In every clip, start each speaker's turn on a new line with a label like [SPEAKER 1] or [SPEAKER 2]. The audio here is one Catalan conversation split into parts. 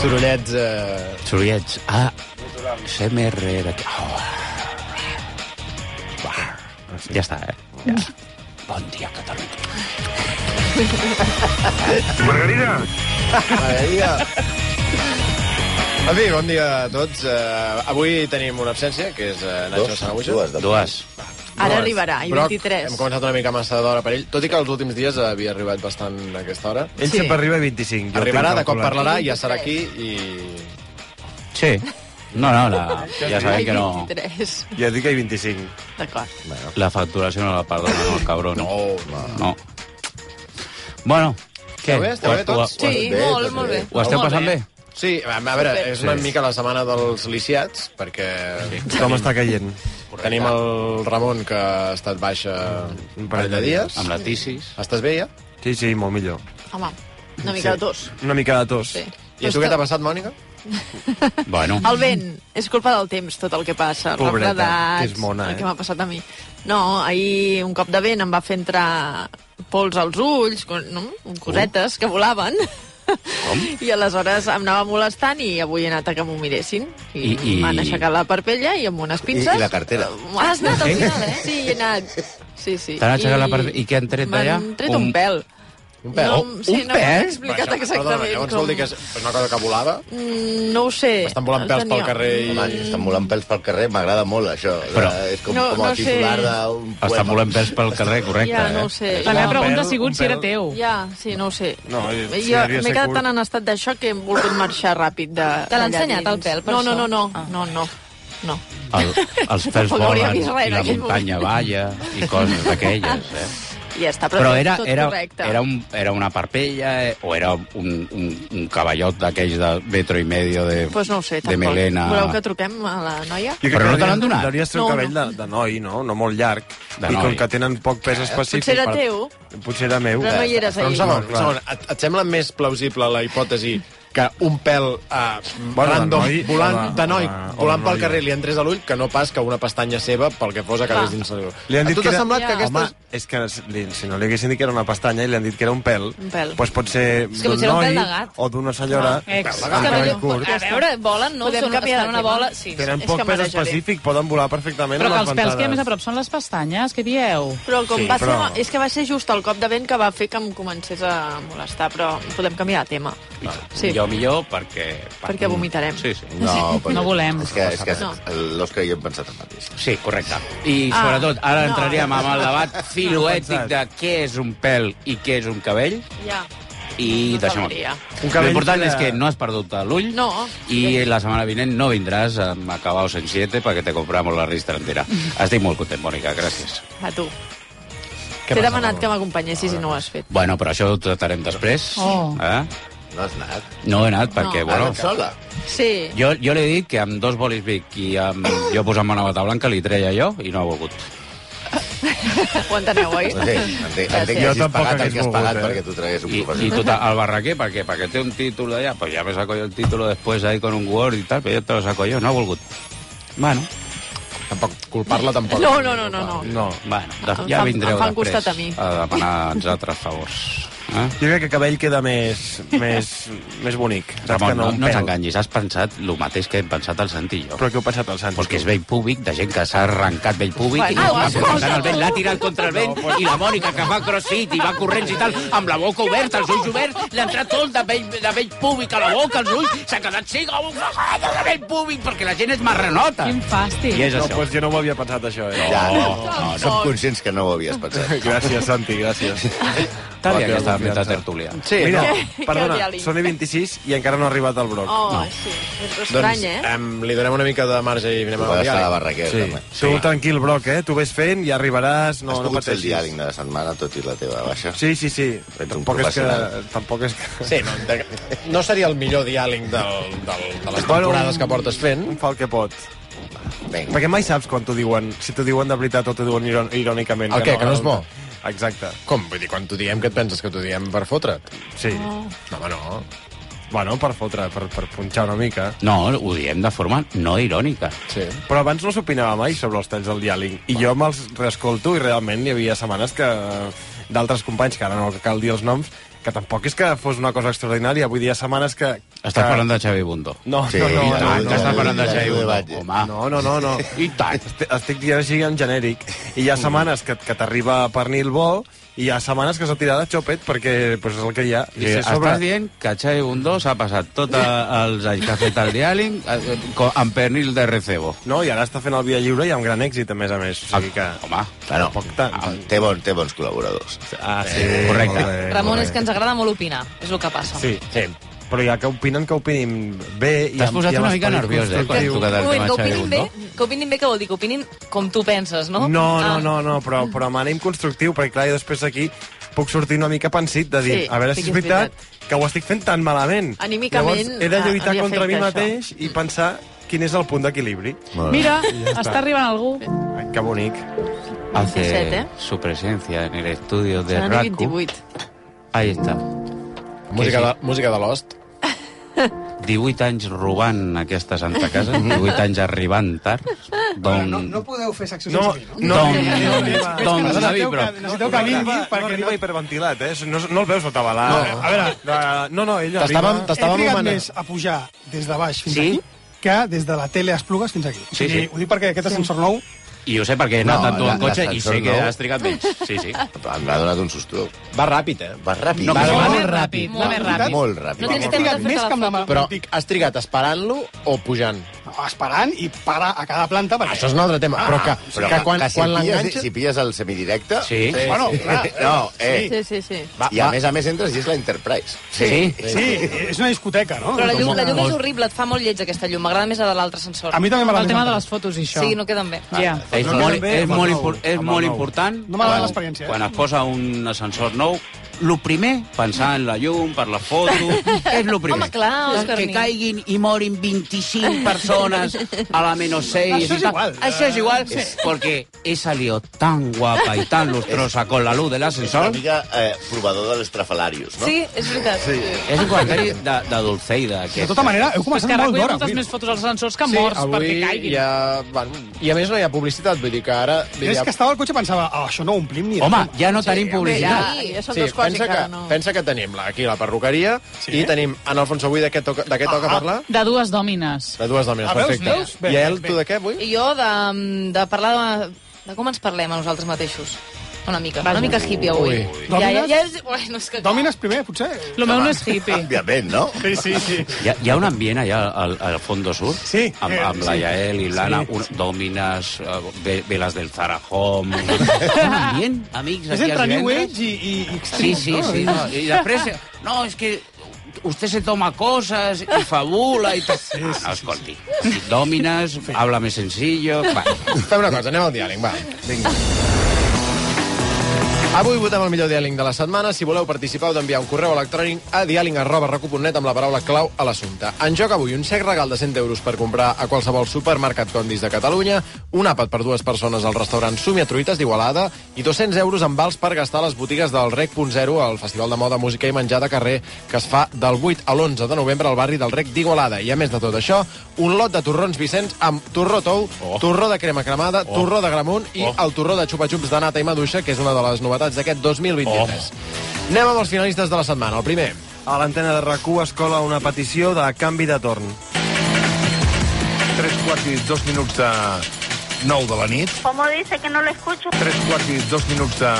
[SPEAKER 1] Sorollets... Eh...
[SPEAKER 2] Sorollets. Ah, CMR d'aquí. Oh. Uah.
[SPEAKER 1] Ah,
[SPEAKER 2] Ja està, eh? Ja. Bon dia, Catalunya.
[SPEAKER 3] Margarida,
[SPEAKER 1] Margarida. En fi, bon dia a tots. Uh, avui tenim una absència, que és uh, Nacho Sanabuja.
[SPEAKER 4] dues, de
[SPEAKER 2] Dues.
[SPEAKER 5] Ara arribarà, i
[SPEAKER 1] Broc,
[SPEAKER 5] 23.
[SPEAKER 1] Hem començat una mica massa d'hora per ell, tot i que els últims dies havia arribat bastant a aquesta hora.
[SPEAKER 3] ell
[SPEAKER 5] Sí.
[SPEAKER 3] sempre arriba a 25. jo
[SPEAKER 1] Arribarà,
[SPEAKER 3] tinc
[SPEAKER 1] de cop
[SPEAKER 3] calculat.
[SPEAKER 1] parlarà, ja serà aquí i...
[SPEAKER 2] Sí. No, no, la, ja sabem
[SPEAKER 5] Ai,
[SPEAKER 2] eh, que no.
[SPEAKER 5] 23.
[SPEAKER 3] Ja dic que hi 25.
[SPEAKER 5] D'acord.
[SPEAKER 2] La facturació no la perdona, no, el cabrón.
[SPEAKER 1] No,
[SPEAKER 4] Oh,
[SPEAKER 1] no.
[SPEAKER 2] No. Bueno, què?
[SPEAKER 1] Esteu bé? Esteu bé
[SPEAKER 2] Ho- ho-
[SPEAKER 1] tots?
[SPEAKER 5] Sí,
[SPEAKER 4] bé,
[SPEAKER 5] molt,
[SPEAKER 4] tot
[SPEAKER 5] molt
[SPEAKER 4] bé.
[SPEAKER 5] bé.
[SPEAKER 2] Ho esteu
[SPEAKER 5] Oh, Molt
[SPEAKER 2] passant bé?
[SPEAKER 1] Sí, a a veure, és una mica la setmana dels lisiats, perquè
[SPEAKER 3] Com està caient?
[SPEAKER 1] tenim el Ramon, que ha estat baixa un parell de dies.
[SPEAKER 2] Amb la tisis.
[SPEAKER 1] Estàs bé, ja?
[SPEAKER 3] Sí, sí, molt millor.
[SPEAKER 5] Home, una mica de tos.
[SPEAKER 3] Una mica de tos.
[SPEAKER 5] Sí.
[SPEAKER 1] I a tu què t'ha passat, Mònica?
[SPEAKER 2] Bueno.
[SPEAKER 5] El vent. És culpa del temps, tot el que passa. els
[SPEAKER 3] Pobreta,
[SPEAKER 5] refredats,
[SPEAKER 3] que és mona, eh?
[SPEAKER 5] El que m'ha passat a mi. No, ahir un cop de vent em va fer entrar pols als ulls, co- no? cosetes que volaven. Com? I aleshores em anava molestant i avui he anat a que m'ho miressin. I,
[SPEAKER 2] I- i-
[SPEAKER 5] M'han aixecat la parpella i amb unes pinces...
[SPEAKER 4] I- i la cartera.
[SPEAKER 5] Has anat al final, eh? Sí, hi he anat. Sí, sí.
[SPEAKER 2] T'han aixecat la parpella- i què han tret d'allà?
[SPEAKER 5] M'han tret un,
[SPEAKER 2] Un-
[SPEAKER 5] pèl.
[SPEAKER 1] un pèl?
[SPEAKER 5] No, sí,
[SPEAKER 2] Un
[SPEAKER 5] no m'han
[SPEAKER 2] pèl?
[SPEAKER 5] explicat
[SPEAKER 1] Això,
[SPEAKER 5] exactament
[SPEAKER 1] Perdona, llavors
[SPEAKER 5] com...
[SPEAKER 1] vol dir que és és una cosa que volava?
[SPEAKER 5] Mm, No ho sé. Mm,
[SPEAKER 1] Estan volant
[SPEAKER 5] El
[SPEAKER 1] pèls pel
[SPEAKER 5] tenia.
[SPEAKER 1] carrer i...
[SPEAKER 4] Home, si estan volant pèls pel carrer, m'agrada molt, això.
[SPEAKER 2] Però-
[SPEAKER 4] és com,
[SPEAKER 5] No,
[SPEAKER 4] com
[SPEAKER 5] no
[SPEAKER 4] el
[SPEAKER 5] sé.
[SPEAKER 4] titular d'un poema.
[SPEAKER 2] Estan volent pèls pel carrer, correcte,
[SPEAKER 5] Ja, no ho
[SPEAKER 2] eh?
[SPEAKER 5] sé.
[SPEAKER 6] La meva
[SPEAKER 5] Jo-
[SPEAKER 3] pèl,
[SPEAKER 6] pregunta ha sigut
[SPEAKER 3] Ah, un
[SPEAKER 6] si era
[SPEAKER 3] pèl.
[SPEAKER 6] teu.
[SPEAKER 5] Ja, sí, no ho sé.
[SPEAKER 3] No, eh, sí,
[SPEAKER 5] jo
[SPEAKER 3] devia
[SPEAKER 5] m'he
[SPEAKER 3] ser
[SPEAKER 5] quedat
[SPEAKER 3] curt.
[SPEAKER 5] tan en estat d'això que he volgut marxar ràpid de...
[SPEAKER 7] Te l'ha
[SPEAKER 5] d'allà
[SPEAKER 7] ensenyat
[SPEAKER 5] dins.
[SPEAKER 7] el pèl, per
[SPEAKER 5] no, No,
[SPEAKER 7] això?
[SPEAKER 5] no, no,
[SPEAKER 7] Ah.
[SPEAKER 5] no, no, no.
[SPEAKER 2] El, els pèls
[SPEAKER 5] Tampoc hauria
[SPEAKER 2] volen,
[SPEAKER 5] vist res
[SPEAKER 2] i
[SPEAKER 5] en
[SPEAKER 2] la
[SPEAKER 5] aquell
[SPEAKER 2] muntanya balla, i coses d'aquelles, eh?
[SPEAKER 5] Ja està, però,
[SPEAKER 2] Però era,
[SPEAKER 5] tot
[SPEAKER 2] era,
[SPEAKER 5] correcte.
[SPEAKER 2] era, un, era una parpella eh, o era un, un, un cavallot d'aquells de metro i medio de,
[SPEAKER 5] Pues no ho sé,
[SPEAKER 2] de
[SPEAKER 5] tampoc.
[SPEAKER 2] melena.
[SPEAKER 5] Voleu que truquem a la noia?
[SPEAKER 3] Jo crec
[SPEAKER 2] Però no
[SPEAKER 3] que
[SPEAKER 2] te
[SPEAKER 3] devien-
[SPEAKER 2] l'han donat?
[SPEAKER 3] Devia ser un
[SPEAKER 5] No, Eh,
[SPEAKER 3] cabell de, de noi, no? No molt llarg.
[SPEAKER 2] De
[SPEAKER 3] I com
[SPEAKER 2] noi.
[SPEAKER 3] que tenen poc pes específic...
[SPEAKER 5] Potser era
[SPEAKER 3] per-
[SPEAKER 5] teu.
[SPEAKER 3] Potser era meu.
[SPEAKER 5] Però no hi eres
[SPEAKER 1] Però un
[SPEAKER 5] ahir.
[SPEAKER 1] segon, un
[SPEAKER 3] clar.
[SPEAKER 1] segon. Et, et sembla més plausible la hipòtesi que un pèl eh,
[SPEAKER 3] Bueno, de
[SPEAKER 1] random
[SPEAKER 3] noi,
[SPEAKER 1] volant,
[SPEAKER 3] o de-
[SPEAKER 1] de noi,
[SPEAKER 3] o de- o de
[SPEAKER 1] volant pel
[SPEAKER 3] noia.
[SPEAKER 1] carrer li entrés a l'ull que no pas que una pestanya seva pel que fos acabés dins el...
[SPEAKER 3] Li han
[SPEAKER 1] a
[SPEAKER 3] dit
[SPEAKER 1] tu
[SPEAKER 3] que
[SPEAKER 1] t'ha
[SPEAKER 3] era...
[SPEAKER 1] semblat que
[SPEAKER 5] Ja.
[SPEAKER 1] aquesta...
[SPEAKER 3] Home, és que li, si no li haguessin dit que era una pestanya i li han dit que era un pèl,
[SPEAKER 5] Un pèl.
[SPEAKER 3] doncs pot ser
[SPEAKER 7] que
[SPEAKER 3] d'un
[SPEAKER 7] potser era un
[SPEAKER 3] noi
[SPEAKER 7] pèl de gat.
[SPEAKER 3] o d'una senyora
[SPEAKER 6] Ah, ex.
[SPEAKER 3] amb
[SPEAKER 6] És que
[SPEAKER 3] cabell
[SPEAKER 6] no-
[SPEAKER 3] curt.
[SPEAKER 7] A veure, volen, no?
[SPEAKER 5] Podem
[SPEAKER 7] Són,
[SPEAKER 5] canviar
[SPEAKER 7] estan
[SPEAKER 5] de
[SPEAKER 7] una
[SPEAKER 5] tema?
[SPEAKER 7] bola... Sí.
[SPEAKER 3] Tenen
[SPEAKER 5] és
[SPEAKER 3] poc
[SPEAKER 5] que
[SPEAKER 3] pes
[SPEAKER 5] marejaré.
[SPEAKER 3] específic, poden volar perfectament
[SPEAKER 6] Però
[SPEAKER 3] amb
[SPEAKER 6] que
[SPEAKER 3] les
[SPEAKER 6] els pèls que hi ha
[SPEAKER 3] ventades.
[SPEAKER 6] més a prop són les pestanyes, què dieu?
[SPEAKER 5] Però com
[SPEAKER 3] Sí,
[SPEAKER 5] va ser...
[SPEAKER 3] però-
[SPEAKER 5] És que va ser just el cop de vent que va fer que em comencés a molestar, però podem canviar de tema. Sí.
[SPEAKER 2] Millor, millor, perquè...
[SPEAKER 5] Perquè vomitarem.
[SPEAKER 2] Sí, sí.
[SPEAKER 4] No, perquè-
[SPEAKER 6] No volem.
[SPEAKER 4] És que, és que
[SPEAKER 5] No.
[SPEAKER 4] l'Òscar i jo hem pensat el mateix.
[SPEAKER 2] Sí, correcte. I
[SPEAKER 5] Ah,
[SPEAKER 2] sobretot, ara
[SPEAKER 5] no.
[SPEAKER 2] entraríem amb el debat filoètic de què és un pèl i què és un cabell,
[SPEAKER 5] Ja.
[SPEAKER 2] i
[SPEAKER 5] No
[SPEAKER 2] deixem aquí.
[SPEAKER 5] caldria.
[SPEAKER 3] Un cabell
[SPEAKER 2] L'important
[SPEAKER 3] que-
[SPEAKER 2] és que no has perdut l'ull
[SPEAKER 5] No.
[SPEAKER 2] i la setmana vinent no vindràs amb acabaos en 7 perquè te compramos la ristra entera. Estic molt content, Mònica, gràcies.
[SPEAKER 5] A tu. T'he demanat que m'acompanyessis i no ho has fet.
[SPEAKER 2] Bueno, però això ho tratarem després.
[SPEAKER 6] Oh.
[SPEAKER 2] Eh?
[SPEAKER 4] No has anat?
[SPEAKER 2] No he anat perquè,
[SPEAKER 5] No.
[SPEAKER 2] bueno...
[SPEAKER 4] Ara, sola?
[SPEAKER 5] Sí.
[SPEAKER 2] Jo, jo li he dit que amb dos bolis Vic i amb, jo posant-me una bata blanca li treia jo i no ha volgut.
[SPEAKER 5] Ho enteneu, oi?
[SPEAKER 4] No sé, entenc, entenc que
[SPEAKER 3] Jo
[SPEAKER 4] hagis
[SPEAKER 3] tampoc
[SPEAKER 4] pagat el
[SPEAKER 3] hagués
[SPEAKER 4] que has pagat
[SPEAKER 3] volgut, eh?
[SPEAKER 4] perquè tu tragués un
[SPEAKER 2] I,
[SPEAKER 4] professor.
[SPEAKER 2] y tú al barraqué, ¿para qué? ¿Para que te un título allá? Pues ya me saco yo el título después ahí con un Word y tal, pero yo te lo saco yo, no ha volgut. Bueno,
[SPEAKER 1] Tampoc culpar-la, tampoc.
[SPEAKER 5] No, no, no, no, no.
[SPEAKER 3] No.
[SPEAKER 2] bueno,
[SPEAKER 5] Ah, doncs Em
[SPEAKER 2] de, ja
[SPEAKER 5] fan-
[SPEAKER 2] vindreu
[SPEAKER 5] em fan
[SPEAKER 2] després
[SPEAKER 5] costat a mi.
[SPEAKER 2] a demanar-nos altres favors. Eh?
[SPEAKER 3] Jo crec que cabell queda més, més, més bonic. Saps que
[SPEAKER 2] Ramon, no,
[SPEAKER 3] un
[SPEAKER 2] no ens
[SPEAKER 3] pèl.
[SPEAKER 2] enganyis, has pensat el mateix que hem pensat el Santi i jo.
[SPEAKER 3] Però què heu pensat al Santi?
[SPEAKER 2] Pues que és vell públic, de gent que s'ha arrencat vell públic
[SPEAKER 5] Bueno,
[SPEAKER 2] i l'ha
[SPEAKER 5] escolta,
[SPEAKER 2] posat al vent,
[SPEAKER 5] tu.
[SPEAKER 2] l'ha tirat contra el vent i la Mònica que fa crossfit i va corrents i tal, amb la boca oberta, els ulls oberts, l'ha entrat tot de vell, de vell públic a la boca, els ulls, s'ha quedat ciga ofegada de vell públic perquè la gent és marranota.
[SPEAKER 6] Quin fàstic.
[SPEAKER 2] I és
[SPEAKER 3] No,
[SPEAKER 2] això.
[SPEAKER 3] pues jo no ho havia pensat, això, eh?
[SPEAKER 4] Ja, no,
[SPEAKER 2] no, no.
[SPEAKER 4] Som conscients que no ho havies pensat.
[SPEAKER 3] Gràcies, Santi, gràcies.
[SPEAKER 2] Tal dia que estàvem aquesta tertúlia.
[SPEAKER 1] Sí,
[SPEAKER 3] Mira,
[SPEAKER 1] no.
[SPEAKER 5] Què- què
[SPEAKER 3] perdona,
[SPEAKER 5] diàleg?
[SPEAKER 3] són i 26 i encara no ha arribat al broc.
[SPEAKER 5] Oh, no. sí, és
[SPEAKER 1] Doncs
[SPEAKER 5] estrany, eh?
[SPEAKER 1] em, li donem una mica de marge i anem
[SPEAKER 4] Va
[SPEAKER 1] al
[SPEAKER 4] estar a la
[SPEAKER 1] diàleg.
[SPEAKER 4] barraqueta.
[SPEAKER 3] Sí.
[SPEAKER 4] home.
[SPEAKER 3] sí. Tu tranquil, Broc, eh? Tu ves fent i arribaràs,
[SPEAKER 4] No,
[SPEAKER 3] no,
[SPEAKER 4] Has
[SPEAKER 3] no
[SPEAKER 4] pogut fer el diari
[SPEAKER 3] pateixis.
[SPEAKER 4] de la setmana, tot i la teva baixa?
[SPEAKER 3] Sí, sí, sí.
[SPEAKER 4] un
[SPEAKER 3] Tampoc és, que,
[SPEAKER 4] professional.
[SPEAKER 3] tampoc és que...
[SPEAKER 1] Sí, no, de, no seria el millor diàleg del, del, de les
[SPEAKER 3] Bueno,
[SPEAKER 1] temporades que portes fent.
[SPEAKER 3] Un fa el que pot.
[SPEAKER 4] Vinga.
[SPEAKER 3] Perquè mai saps quan t'ho diuen, si t'ho diuen de veritat o t'ho diuen irò- irònicament.
[SPEAKER 1] El què, que no és bo?
[SPEAKER 3] Exacte,
[SPEAKER 1] Com? Vull dir, quan t'ho diem, què et penses que t'ho diem per fotre't?
[SPEAKER 3] sí.
[SPEAKER 1] No, home, no.
[SPEAKER 3] Bueno, per fotre, per, per punxar una mica.
[SPEAKER 2] No, ho diem de forma no irònica.
[SPEAKER 1] Sí.
[SPEAKER 3] Però abans no s'opinava mai sobre els talls del diàleg. I jo me'ls reescolto i realment hi havia setmanes que d'altres companys, que ara no cal dir els noms, que tampoc és que fos una cosa extraordinària. Avui dia setmanes que...
[SPEAKER 2] Estàs
[SPEAKER 3] que...
[SPEAKER 2] parlant de Xavi Bundó.
[SPEAKER 3] No,
[SPEAKER 4] Sí,
[SPEAKER 3] no, no,
[SPEAKER 4] i
[SPEAKER 3] no,
[SPEAKER 4] tant,
[SPEAKER 3] no,
[SPEAKER 4] que
[SPEAKER 3] no,
[SPEAKER 4] està
[SPEAKER 3] no,
[SPEAKER 4] parlant de
[SPEAKER 3] no,
[SPEAKER 4] Xavi
[SPEAKER 3] no,
[SPEAKER 4] Bundó,
[SPEAKER 2] home.
[SPEAKER 3] No, no, no, no.
[SPEAKER 2] I tant.
[SPEAKER 3] Estic, estic dient així en genèric. I hi ha setmanes que, que t'arriba per Nil Bo i hi ha setmanes que s'ha tirat de xopet perquè pues, és el que hi ha. I
[SPEAKER 2] Sí,
[SPEAKER 3] si a
[SPEAKER 2] Estàs dient que Xavi Bundó s'ha passat tots els anys que ha fet el diàling eh, co- amb pernil de recebo. Ah,
[SPEAKER 3] No, i ara està fent el Via Lliure i amb gran èxit, a més a més. O sigui que...
[SPEAKER 2] Home,
[SPEAKER 4] Bueno,
[SPEAKER 3] Tampoc tant.
[SPEAKER 4] ah, té, bon, té bons col·laboradors.
[SPEAKER 3] Ah, sí.
[SPEAKER 2] correcte.
[SPEAKER 3] molt bé,
[SPEAKER 7] Ramon,
[SPEAKER 3] molt
[SPEAKER 7] és que ens agrada molt opinar, és el que passa.
[SPEAKER 3] eh. Sí, sí. Però ja que opinen, que opinin bé... i
[SPEAKER 2] T'has
[SPEAKER 3] amb-
[SPEAKER 2] posat
[SPEAKER 3] i amb
[SPEAKER 2] una mica
[SPEAKER 3] esperit
[SPEAKER 2] nerviós, eh, quan
[SPEAKER 3] constructiu.
[SPEAKER 2] tu quedes
[SPEAKER 7] Un moment, que
[SPEAKER 2] amb Xavi
[SPEAKER 7] opinin bé,
[SPEAKER 2] Bundó.
[SPEAKER 7] que opinin bé, què vol dir? Que opinin com tu penses, no?
[SPEAKER 3] No, no,
[SPEAKER 7] Ah.
[SPEAKER 3] no, no però, però amb ànim constructiu, perquè clar, jo després aquí puc sortir una mica pensit de dir,
[SPEAKER 5] Sí,
[SPEAKER 3] a veure
[SPEAKER 5] sí
[SPEAKER 3] si
[SPEAKER 5] que
[SPEAKER 3] és
[SPEAKER 5] és
[SPEAKER 3] veritat que ho estic fent tan malament.
[SPEAKER 5] Anímicament,
[SPEAKER 3] Llavors, he de
[SPEAKER 5] ah,
[SPEAKER 3] lluitar
[SPEAKER 5] havia
[SPEAKER 3] contra mi
[SPEAKER 5] fet això.
[SPEAKER 3] mateix i pensar quin és el punt d'equilibri.
[SPEAKER 6] Mira,
[SPEAKER 3] està.
[SPEAKER 6] està arribant algú.
[SPEAKER 3] Ai, que bonic.
[SPEAKER 2] Hace
[SPEAKER 5] 27, ¿eh?
[SPEAKER 2] su presencia en el estudio de
[SPEAKER 5] Seran
[SPEAKER 2] Raku.
[SPEAKER 5] 28.
[SPEAKER 2] Ahí està.
[SPEAKER 1] Música,
[SPEAKER 2] sí.
[SPEAKER 1] de, música de l'host.
[SPEAKER 2] 18 anys robant aquesta santa casa, 18 anys arribant tard. Don...
[SPEAKER 8] No, Mm. no podeu fer secció
[SPEAKER 3] No,
[SPEAKER 8] sense mi.
[SPEAKER 3] no,
[SPEAKER 2] Don,
[SPEAKER 3] no, arriba.
[SPEAKER 2] don, don
[SPEAKER 8] Necessiteu
[SPEAKER 2] Xavi
[SPEAKER 8] que-
[SPEAKER 2] Broc.
[SPEAKER 8] Necessiteu que vingui
[SPEAKER 3] no
[SPEAKER 8] perquè
[SPEAKER 3] arriba
[SPEAKER 8] no...
[SPEAKER 3] hiperventilat, eh? No, no el veus atabalat. No, a veure... No, no, ell
[SPEAKER 1] T'estàvem
[SPEAKER 3] arriba...
[SPEAKER 8] He
[SPEAKER 1] t'estàvem
[SPEAKER 8] trigat
[SPEAKER 1] anomenant.
[SPEAKER 8] més a pujar des de baix fins
[SPEAKER 2] Sí?
[SPEAKER 8] aquí que des de la tele a Esplugues fins aquí. O
[SPEAKER 2] Sí,
[SPEAKER 8] sigui,
[SPEAKER 2] sí.
[SPEAKER 8] Ho dic perquè aquest ascensor nou...
[SPEAKER 2] I jo sé perquè he anat
[SPEAKER 4] No,
[SPEAKER 2] amb tu
[SPEAKER 4] la-
[SPEAKER 2] en cotxe i
[SPEAKER 4] l'ascensor
[SPEAKER 2] sé que
[SPEAKER 4] nou.
[SPEAKER 2] has trigat menys. Sí, sí.
[SPEAKER 4] Em va donat un susto.
[SPEAKER 1] Va ràpid, eh?
[SPEAKER 4] Va ràpid.
[SPEAKER 2] No,
[SPEAKER 4] va,
[SPEAKER 2] però-
[SPEAKER 4] va,
[SPEAKER 7] Molt ràpid, molt més ràpid.
[SPEAKER 4] Molt ràpid.
[SPEAKER 7] No tens
[SPEAKER 8] He
[SPEAKER 7] temps de
[SPEAKER 8] trigat més que
[SPEAKER 7] fer-te
[SPEAKER 8] amb
[SPEAKER 7] la
[SPEAKER 8] la mà.
[SPEAKER 7] foto.
[SPEAKER 1] Però
[SPEAKER 8] Dic,
[SPEAKER 1] has trigat esperant-lo o pujant?
[SPEAKER 8] esperant i parar a cada planta perquè... Ah,
[SPEAKER 1] Això és un altre tema, però que,
[SPEAKER 4] Però
[SPEAKER 1] que quan,
[SPEAKER 4] si,
[SPEAKER 1] quan
[SPEAKER 4] el pilles,
[SPEAKER 1] l'enganxes...
[SPEAKER 4] si pilles el semidirecte...
[SPEAKER 2] Sí.
[SPEAKER 4] Bueno, no, eh,
[SPEAKER 5] Sí, sí, sí.
[SPEAKER 4] Va, I a més a més entres i és la Enterprise.
[SPEAKER 2] Sí.
[SPEAKER 8] Sí, és una discoteca, no?
[SPEAKER 7] Però la llum, la llum és
[SPEAKER 2] Molt.
[SPEAKER 7] horrible, et fa molt lleig aquesta llum. M'agrada més la de l'altre sensor.
[SPEAKER 8] A mi també
[SPEAKER 6] El
[SPEAKER 8] m'agrada
[SPEAKER 6] tema
[SPEAKER 8] més.
[SPEAKER 6] de les fotos i això.
[SPEAKER 7] Sí, no queden bé.
[SPEAKER 6] Ja.
[SPEAKER 2] És
[SPEAKER 3] no
[SPEAKER 2] molt,
[SPEAKER 3] queden bé
[SPEAKER 2] és
[SPEAKER 3] amb el
[SPEAKER 2] molt,
[SPEAKER 3] nou,
[SPEAKER 2] impor és
[SPEAKER 3] amb el
[SPEAKER 2] molt
[SPEAKER 3] nou.
[SPEAKER 2] important
[SPEAKER 8] No m'agrada
[SPEAKER 2] quan-
[SPEAKER 8] l'experiència, eh?
[SPEAKER 2] quan es posa un ascensor nou el primer, pensar en la llum, per la foto, és el primer.
[SPEAKER 7] Home, clar, Òscar
[SPEAKER 2] que
[SPEAKER 7] Nin.
[SPEAKER 2] caiguin i morin 25 persones a la menos 6.
[SPEAKER 8] Això és igual.
[SPEAKER 2] Això és igual, porque he salido tan guapa y tan lustrosa con la luz del
[SPEAKER 4] És una
[SPEAKER 2] ascensor.
[SPEAKER 4] mica eh, provador de l'estrafalarius, no?
[SPEAKER 7] Sí, és veritat. Sí.
[SPEAKER 2] És un comentari de, de Dulceida,
[SPEAKER 8] De
[SPEAKER 2] aquest.
[SPEAKER 8] tota manera, heu
[SPEAKER 6] Però és
[SPEAKER 8] començat
[SPEAKER 6] que ara
[SPEAKER 8] molt
[SPEAKER 6] hi ha
[SPEAKER 8] d'hora.
[SPEAKER 6] moltes
[SPEAKER 8] avui.
[SPEAKER 6] més fotos als ascensors que morts perquè caiguin.
[SPEAKER 1] ja... Bueno, I a més no hi ha publicitat, vull dir que ara...
[SPEAKER 8] Jo És que estava al cotxe i pensava, oh, això no ho omplim ni... de
[SPEAKER 2] Home,
[SPEAKER 8] broma.
[SPEAKER 2] ja no tenim
[SPEAKER 5] Bé, ja,
[SPEAKER 2] publicitat.
[SPEAKER 5] ja són
[SPEAKER 1] Sí,
[SPEAKER 5] dues coses
[SPEAKER 1] pensa,
[SPEAKER 5] que,
[SPEAKER 1] que,
[SPEAKER 5] no...
[SPEAKER 1] pensa que tenim la, aquí la perruqueria sí. i tenim en Alfonso avui de què toca, de què toca parlar?
[SPEAKER 6] De dues dòmines.
[SPEAKER 1] De dues dones,
[SPEAKER 8] Ah, veus,
[SPEAKER 1] perfecte.
[SPEAKER 8] veus? Bé,
[SPEAKER 1] I el,
[SPEAKER 8] bé, bé.
[SPEAKER 1] tu de què avui?
[SPEAKER 7] I jo de, de parlar de, de com ens parlem a nosaltres mateixos. Una mica, una mica hippie avui.
[SPEAKER 8] Ui.
[SPEAKER 7] Ja, ja,
[SPEAKER 8] Dòmines?
[SPEAKER 7] ja, és... Ui, no, és que...
[SPEAKER 8] Dòmines primer, potser?
[SPEAKER 6] Lo meu no és hippie.
[SPEAKER 4] Òbviament, no?
[SPEAKER 8] Sí, sí, sí.
[SPEAKER 2] Hi ha, hi ha un ambient allà al, al fondo sur?
[SPEAKER 8] Sí.
[SPEAKER 2] Amb,
[SPEAKER 8] Eh,
[SPEAKER 2] amb la
[SPEAKER 8] sí.
[SPEAKER 2] Yael i l'Anna, sí. un, dòmines, eh, ve- veles del Zarajom... un ambient, amics,
[SPEAKER 8] És
[SPEAKER 2] aquí
[SPEAKER 8] entre
[SPEAKER 2] els
[SPEAKER 8] New
[SPEAKER 2] divendres.
[SPEAKER 8] Age i, i, i
[SPEAKER 2] Sí,
[SPEAKER 8] Extreme,
[SPEAKER 2] sí,
[SPEAKER 8] no?
[SPEAKER 2] sí. No. I després... No, és que usted se toma cosas y fabula y tot. Ah, no, escolti. Dòmines, habla més sencillo... Va.
[SPEAKER 1] Fem una cosa, anem al diàleg, va. Vinga. Avui votem el millor diàleg de la setmana. Si voleu participar, heu d'enviar un correu electrònic a diàleg.recu.net amb la paraula clau a l'assumpte. En joc avui un sec regal de 100 euros per comprar a qualsevol supermercat Condis de Catalunya, un àpat per dues persones al restaurant Sumia Truites d'Igualada i 200 euros en vals per gastar a les botigues del Rec.0 al Festival de Moda, Música i Menjar de Carrer que es fa del 8 a l'11 de novembre al barri del Rec d'Igualada. I a més de tot això, un lot de torrons Vicenç amb torró tou, oh. torró de crema cremada, oh. torró de gramunt i oh. el torró de xupa-xups de nata i maduixa, que és una de les novetats d'aquest 2023. Oh. Anem amb els finalistes de la setmana. El primer.
[SPEAKER 3] A l'antena de RAC1 es cola una petició de canvi de torn.
[SPEAKER 1] Mm.
[SPEAKER 9] Tres quarts i dos minuts de 9 de la nit.
[SPEAKER 10] ¿Cómo dice que no lo escucho?
[SPEAKER 9] Tres quarts i dos minuts de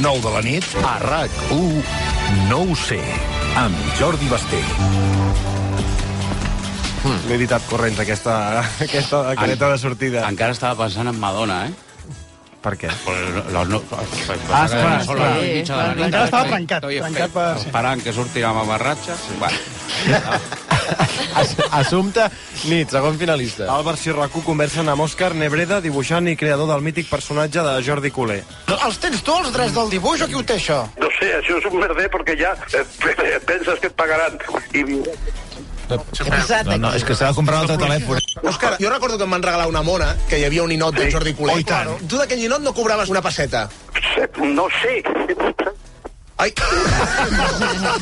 [SPEAKER 9] 9 de la nit. A RAC1, no ho sé, amb Jordi Basté.
[SPEAKER 3] L'he editat corrents, aquesta, aquesta careta de sortida.
[SPEAKER 2] Encara estava pensant en Madonna, eh?
[SPEAKER 3] Per què?
[SPEAKER 2] Pues, la, no,
[SPEAKER 8] Ah,
[SPEAKER 3] Aspra, aspra.
[SPEAKER 8] Encara estava trencat, trencat per... sí.
[SPEAKER 2] Esperant que surti la mamarratxa. Sí. Va.
[SPEAKER 1] As Assumpte Nit, segon finalista.
[SPEAKER 3] Albert Sirracu conversa amb Òscar Nebreda, dibuixant i creador del mític personatge de Jordi Culer.
[SPEAKER 10] Els tens tu, els drets del dibuix, o qui ho té, això?
[SPEAKER 11] No sé, això és un merder perquè ja eh, penses que et pagaran. I
[SPEAKER 10] Què ha passat aquí? No, és que s'ha de comprar un altre telèfon.
[SPEAKER 12] Òscar, jo recordo que em van regalar una mona, que hi havia un ninot de Jordi Culer.
[SPEAKER 10] Oh, i tant.
[SPEAKER 12] Tu d'aquell ninot no cobraves una pesseta.
[SPEAKER 11] no sé.
[SPEAKER 12] Ai,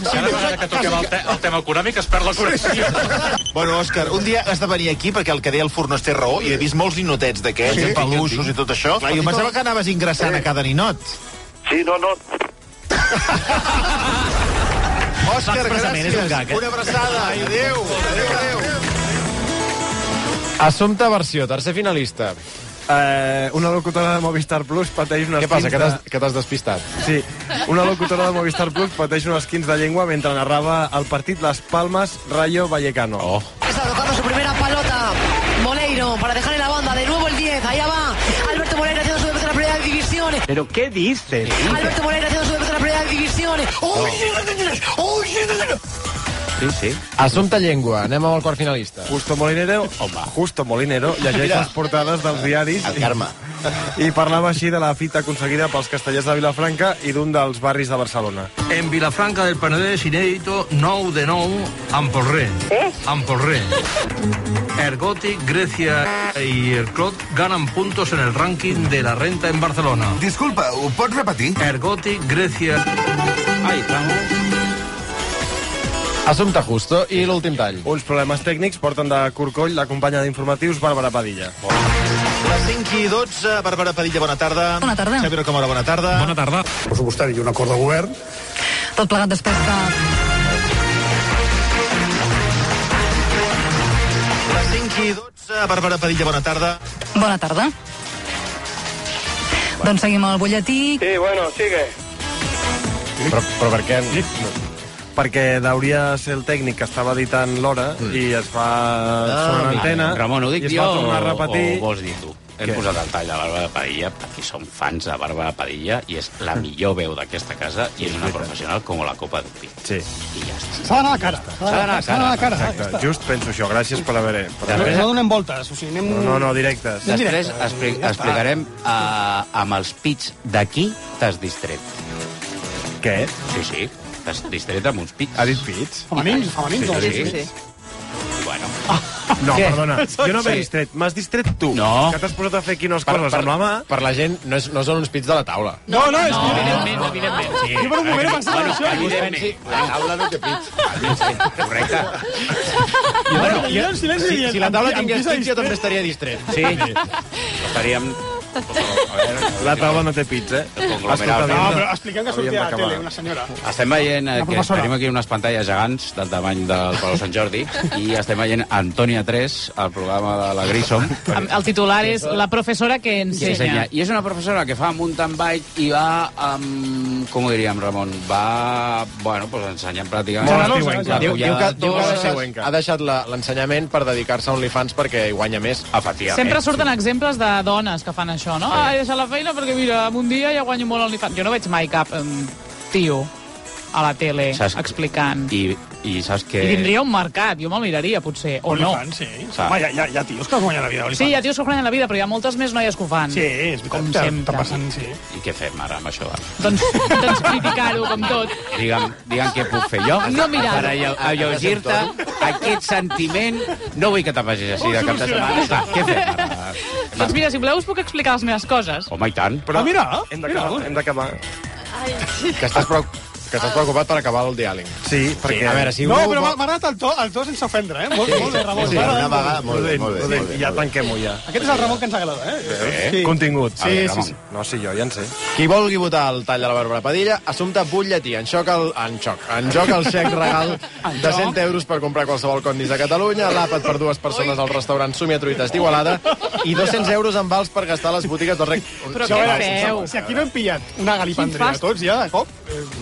[SPEAKER 10] Sí, dius,
[SPEAKER 2] que toquem el, te el tema econòmic es perd la connexió.
[SPEAKER 10] Bueno, Òscar, un dia has de venir aquí perquè el que deia el Fornós té raó i he vist molts ninotets d'aquests, sí, peluixos i tot això. Clar, jo em pensava que anaves ingressant a cada ninot.
[SPEAKER 11] Sí, no, no.
[SPEAKER 10] Òscar, gràcies. Un gag, eh? Una abraçada. Adéu. Adéu, adéu.
[SPEAKER 1] Assumpte Versió, tercer finalista.
[SPEAKER 3] Eh, una locutora de Movistar Plus pateix unes
[SPEAKER 1] Què passa, que
[SPEAKER 3] quinze-
[SPEAKER 1] t'has- que t'has despistat?
[SPEAKER 3] Sí, una locutora de Movistar Plus pateix unes 15 de llengua mentre narrava el partit Les Palmes Rayo Vallecano. Oh.
[SPEAKER 13] Está tocando su primera pelota. Moleiro para dejar en la banda. De nuevo el 10. Allá va. Alberto Moleiro haciendo su debut en la primera división.
[SPEAKER 2] Però què dices?
[SPEAKER 13] Alberto Moleiro haciendo su debut en la primera división. ¡Oh, ¡Oh,
[SPEAKER 2] Sí, sí.
[SPEAKER 1] Assumpte Llengua, anem amb el quart finalista.
[SPEAKER 3] Justo Molinero, Home. Justo Molinero llegeix les portades dels diaris
[SPEAKER 4] El Carme.
[SPEAKER 3] i parlava així de la fita aconseguida pels castellers de Vilafranca i d'un dels barris de Barcelona.
[SPEAKER 14] En Vilafranca del Penedès, inèdito, 9 de 9, Amporré. Eh? Amporré. Ergoti, Grecia y el Clot ganan puntos en el ranking de la renta en Barcelona.
[SPEAKER 12] Disculpa, ho pots repetir?
[SPEAKER 14] Ergoti, Grecia... Ahí estamos.
[SPEAKER 1] Assumpte Justo i l'últim tall.
[SPEAKER 3] Uns problemes tècnics porten de corcoll la companya d'informatius Bàrbara Padilla.
[SPEAKER 10] Les 5 i 12, Bàrbara Padilla, bona tarda.
[SPEAKER 6] Bona tarda.
[SPEAKER 10] Xavier Camora, bona tarda. Bona tarda.
[SPEAKER 11] Pressupostari i un acord de govern.
[SPEAKER 13] Tot plegat després de...
[SPEAKER 10] Les 5 i 12, Bàrbara Padilla, bona tarda.
[SPEAKER 13] Bona tarda. Doncs seguim el butlletí.
[SPEAKER 11] Sí, bueno, sigue.
[SPEAKER 1] Però, però per què?
[SPEAKER 3] Perquè deuria ser el tècnic que estava editant l'hora mm. i es va ah, sobre l'antena
[SPEAKER 2] Ramon, ho
[SPEAKER 3] i
[SPEAKER 2] dic
[SPEAKER 3] es
[SPEAKER 2] jo
[SPEAKER 3] va tornar a
[SPEAKER 2] o-
[SPEAKER 3] repetir.
[SPEAKER 2] o vols dir tu? Hem
[SPEAKER 3] Què?
[SPEAKER 2] posat el tall de Bàrbara Padilla perquè som fans de Bàrbara Padilla i és la millor veu d'aquesta casa i és una professional com la copa d'un pi.
[SPEAKER 3] Sí,
[SPEAKER 2] I ja està.
[SPEAKER 8] S'ha d'anar a la cara. S'ha d'anar s'ha d'anar a la cara.
[SPEAKER 3] exacte. Just penso això. Gràcies per haver... Per
[SPEAKER 8] No,
[SPEAKER 3] haver...
[SPEAKER 8] no donem voltes, o sigui, anem...
[SPEAKER 3] No, no, no, directes.
[SPEAKER 8] Anem
[SPEAKER 2] Després
[SPEAKER 8] directe.
[SPEAKER 2] expli explicarem uh, amb els pits d'aquí t'has distret.
[SPEAKER 3] Què?
[SPEAKER 2] Sí, sí, t'has distret amb uns pits.
[SPEAKER 3] Ha dit pits?
[SPEAKER 8] Femenins, femenins.
[SPEAKER 2] Sí,
[SPEAKER 8] no?
[SPEAKER 2] sí,
[SPEAKER 5] Sí, sí.
[SPEAKER 2] Bueno,
[SPEAKER 3] No,
[SPEAKER 1] Què?
[SPEAKER 3] perdona. Jo no m'he distret. M'has distret tu.
[SPEAKER 2] No.
[SPEAKER 3] Que t'has posat a fer aquí unes coses amb la mà.
[SPEAKER 1] per la gent, no, és, no són uns pits de la taula.
[SPEAKER 8] No, no, és que...
[SPEAKER 2] evidentment, evidentment. Sí.
[SPEAKER 8] Jo per un moment he pensat en això.
[SPEAKER 2] Evidentment.
[SPEAKER 4] La taula no té pit.
[SPEAKER 2] Correcte.
[SPEAKER 8] I bueno, jo en silenci
[SPEAKER 1] Si,
[SPEAKER 8] dient,
[SPEAKER 1] si la taula
[SPEAKER 8] amb qui- amb
[SPEAKER 1] tingués
[SPEAKER 8] qui s'ha
[SPEAKER 1] pits, jo també estaria distret.
[SPEAKER 2] Sí. Estaríem...
[SPEAKER 3] La taula no té pits, eh?
[SPEAKER 2] Conglomerats.
[SPEAKER 3] Escolta,
[SPEAKER 8] No, però
[SPEAKER 3] Vienda,
[SPEAKER 8] expliquem que
[SPEAKER 3] Havíem
[SPEAKER 8] sortia a la
[SPEAKER 3] d'acabar.
[SPEAKER 8] tele una senyora.
[SPEAKER 2] Estem veient eh,
[SPEAKER 8] La
[SPEAKER 2] que
[SPEAKER 8] professora.
[SPEAKER 2] tenim aquí unes pantalles gegants del tamany del Palau Sant Jordi i estem veient Antònia 3 al programa de la Grissom
[SPEAKER 6] Amb- El titular és la professora que
[SPEAKER 2] que ensenya.
[SPEAKER 6] ensenya.
[SPEAKER 2] I és una professora que fa mountain bike i va, um, com ho diríem, Ramon? Va, bueno, pues ensenyant pràcticament...
[SPEAKER 8] Generosa,
[SPEAKER 3] estiuenca.
[SPEAKER 8] generosa.
[SPEAKER 2] La
[SPEAKER 1] Diu, diu que,
[SPEAKER 2] collada... tota.
[SPEAKER 1] diu que ha
[SPEAKER 2] d'os.
[SPEAKER 1] deixat- ha deixat la- l'ensenyament per dedicar-se a OnlyFans perquè hi guanya més. Eh?
[SPEAKER 2] Efectivament.
[SPEAKER 6] Sempre surten exemples de dones que fan això, no? Ah, he deixat la feina perquè, mira, en un dia ja guanyo molt OnlyFans. Jo no veig mai cap em, tio a la tele
[SPEAKER 2] Saps-
[SPEAKER 6] explicant. I,
[SPEAKER 2] I, I saps que...
[SPEAKER 6] tindria un mercat, jo me'l miraria, potser, o no.
[SPEAKER 8] OnlyFans, sí. Home, hi ha, hi ha, hi ha tios que es guanyen la vida.
[SPEAKER 6] Sí, hi ha
[SPEAKER 8] OnlyFans.
[SPEAKER 6] tios que guanyen la vida, però hi ha moltes més noies que ho fan.
[SPEAKER 8] Sí, és
[SPEAKER 6] Com
[SPEAKER 8] veritat. Està-
[SPEAKER 6] sempre.
[SPEAKER 8] Està passant, sí.
[SPEAKER 2] I què fem ara amb això?
[SPEAKER 6] Doncs, doncs criticar-ho, com tot.
[SPEAKER 2] Digue'm, digue'm què puc fer jo
[SPEAKER 6] No mirar-ho.
[SPEAKER 2] per alleu- alleujar-te aquest sentiment. No vull que te facis així de cap de setmana. Va, què fem ara?
[SPEAKER 6] Doncs mira, si voleu us puc explicar les meves coses.
[SPEAKER 2] Home, i tant.
[SPEAKER 3] Però
[SPEAKER 8] Ah, mira,
[SPEAKER 3] hem
[SPEAKER 8] mira.
[SPEAKER 3] d'acabar. Hem d'acabar.
[SPEAKER 1] Que estàs, preu, que estàs preocupat per acabar el diàling.
[SPEAKER 3] Sí, perquè...
[SPEAKER 1] A veure, si
[SPEAKER 8] No,
[SPEAKER 1] algú
[SPEAKER 8] però m'ha
[SPEAKER 1] vol-
[SPEAKER 8] m'ha agradat el to, el to sense ofendre, eh? Molt, molt bé, Ramon.
[SPEAKER 4] Sí,
[SPEAKER 8] M'agrada
[SPEAKER 4] una
[SPEAKER 8] molt.
[SPEAKER 3] Ah,
[SPEAKER 4] vegada, molt bé, molt bé. Molt bé,
[SPEAKER 3] Ja
[SPEAKER 4] molt bé.
[SPEAKER 3] tanquem-ho, ja.
[SPEAKER 8] Aquest és el Ramon que ens agrada, eh?
[SPEAKER 3] Sí. Contingut.
[SPEAKER 2] A veure, Ramon.
[SPEAKER 3] No, sí, jo ja en sé.
[SPEAKER 1] Qui vulgui votar el tall de la Bàrbara Padilla, assumpte butlletí, en xoc el, en xoc, en joc el xec regal de 100 euros per comprar qualsevol condis de Catalunya, l'àpat per dues persones al restaurant Sumia Truites d'Igualada i 200 euros en vals per gastar a les botigues del rec...
[SPEAKER 6] Però
[SPEAKER 8] Això, a
[SPEAKER 6] què
[SPEAKER 8] veure,
[SPEAKER 6] feu?
[SPEAKER 8] si aquí no hem pillat una
[SPEAKER 6] Quin
[SPEAKER 8] galipandria
[SPEAKER 6] fast-
[SPEAKER 8] tots, ja, de cop.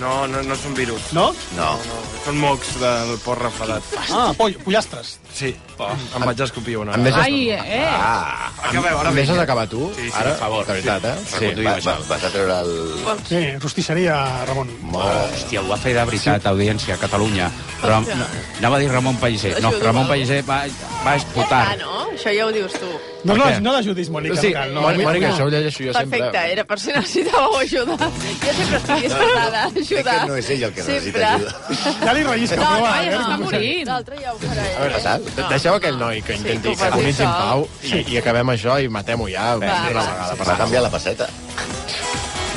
[SPEAKER 3] No, no, no són virus.
[SPEAKER 8] No?
[SPEAKER 3] No. no. Són mocs del porc refredat.
[SPEAKER 8] Ah, poll, pollastres.
[SPEAKER 3] Sí, em vaig escopir una.
[SPEAKER 8] Em deixes-
[SPEAKER 6] Ai, eh!
[SPEAKER 3] Ah, acabeu, ara
[SPEAKER 1] Em deixes
[SPEAKER 3] vinc.
[SPEAKER 1] acabar tu?
[SPEAKER 3] Sí, sí,
[SPEAKER 1] Ara?
[SPEAKER 3] per favor.
[SPEAKER 1] De veritat, eh?
[SPEAKER 3] Sí,
[SPEAKER 1] Reconduïm
[SPEAKER 3] va,
[SPEAKER 1] això.
[SPEAKER 3] va, va treure el...
[SPEAKER 8] Sí, rostisseria, Ramon.
[SPEAKER 2] Oh, Hòstia, ho va fer de veritat, audiència, Catalunya. Ram... no, Anava a dir Ramon Pellicer. No,
[SPEAKER 5] Ajuda,
[SPEAKER 2] Ramon
[SPEAKER 5] Pablo.
[SPEAKER 2] Pellicer va, va esputar.
[SPEAKER 5] Ah, no? Això ja ho dius tu.
[SPEAKER 8] No, no,
[SPEAKER 2] Per què?
[SPEAKER 8] no l'ajudis, Mònica.
[SPEAKER 2] Sí,
[SPEAKER 8] no cal, no. eh?
[SPEAKER 2] Mònica,
[SPEAKER 8] Mònica,
[SPEAKER 2] això ho llegeixo
[SPEAKER 5] Perfecte, era per si necessitàveu ajuda. Jo sempre estic disposada a ajudar.
[SPEAKER 4] no és ell el que
[SPEAKER 5] sempre.
[SPEAKER 4] necessita
[SPEAKER 5] ajuda.
[SPEAKER 8] Ja li rellisca,
[SPEAKER 5] no,
[SPEAKER 8] però va,
[SPEAKER 5] no,
[SPEAKER 8] eh?
[SPEAKER 5] no,
[SPEAKER 8] Està
[SPEAKER 5] morint. L'altre ja ho farà.
[SPEAKER 1] A veure, tal, deixeu aquell noi que
[SPEAKER 5] que ho
[SPEAKER 1] intenti que
[SPEAKER 5] faci
[SPEAKER 1] comuniqui en
[SPEAKER 5] sol.
[SPEAKER 1] pau i, i acabem això i matem-ho ja una
[SPEAKER 5] va.
[SPEAKER 1] vegada.
[SPEAKER 4] Va canviar la passeta.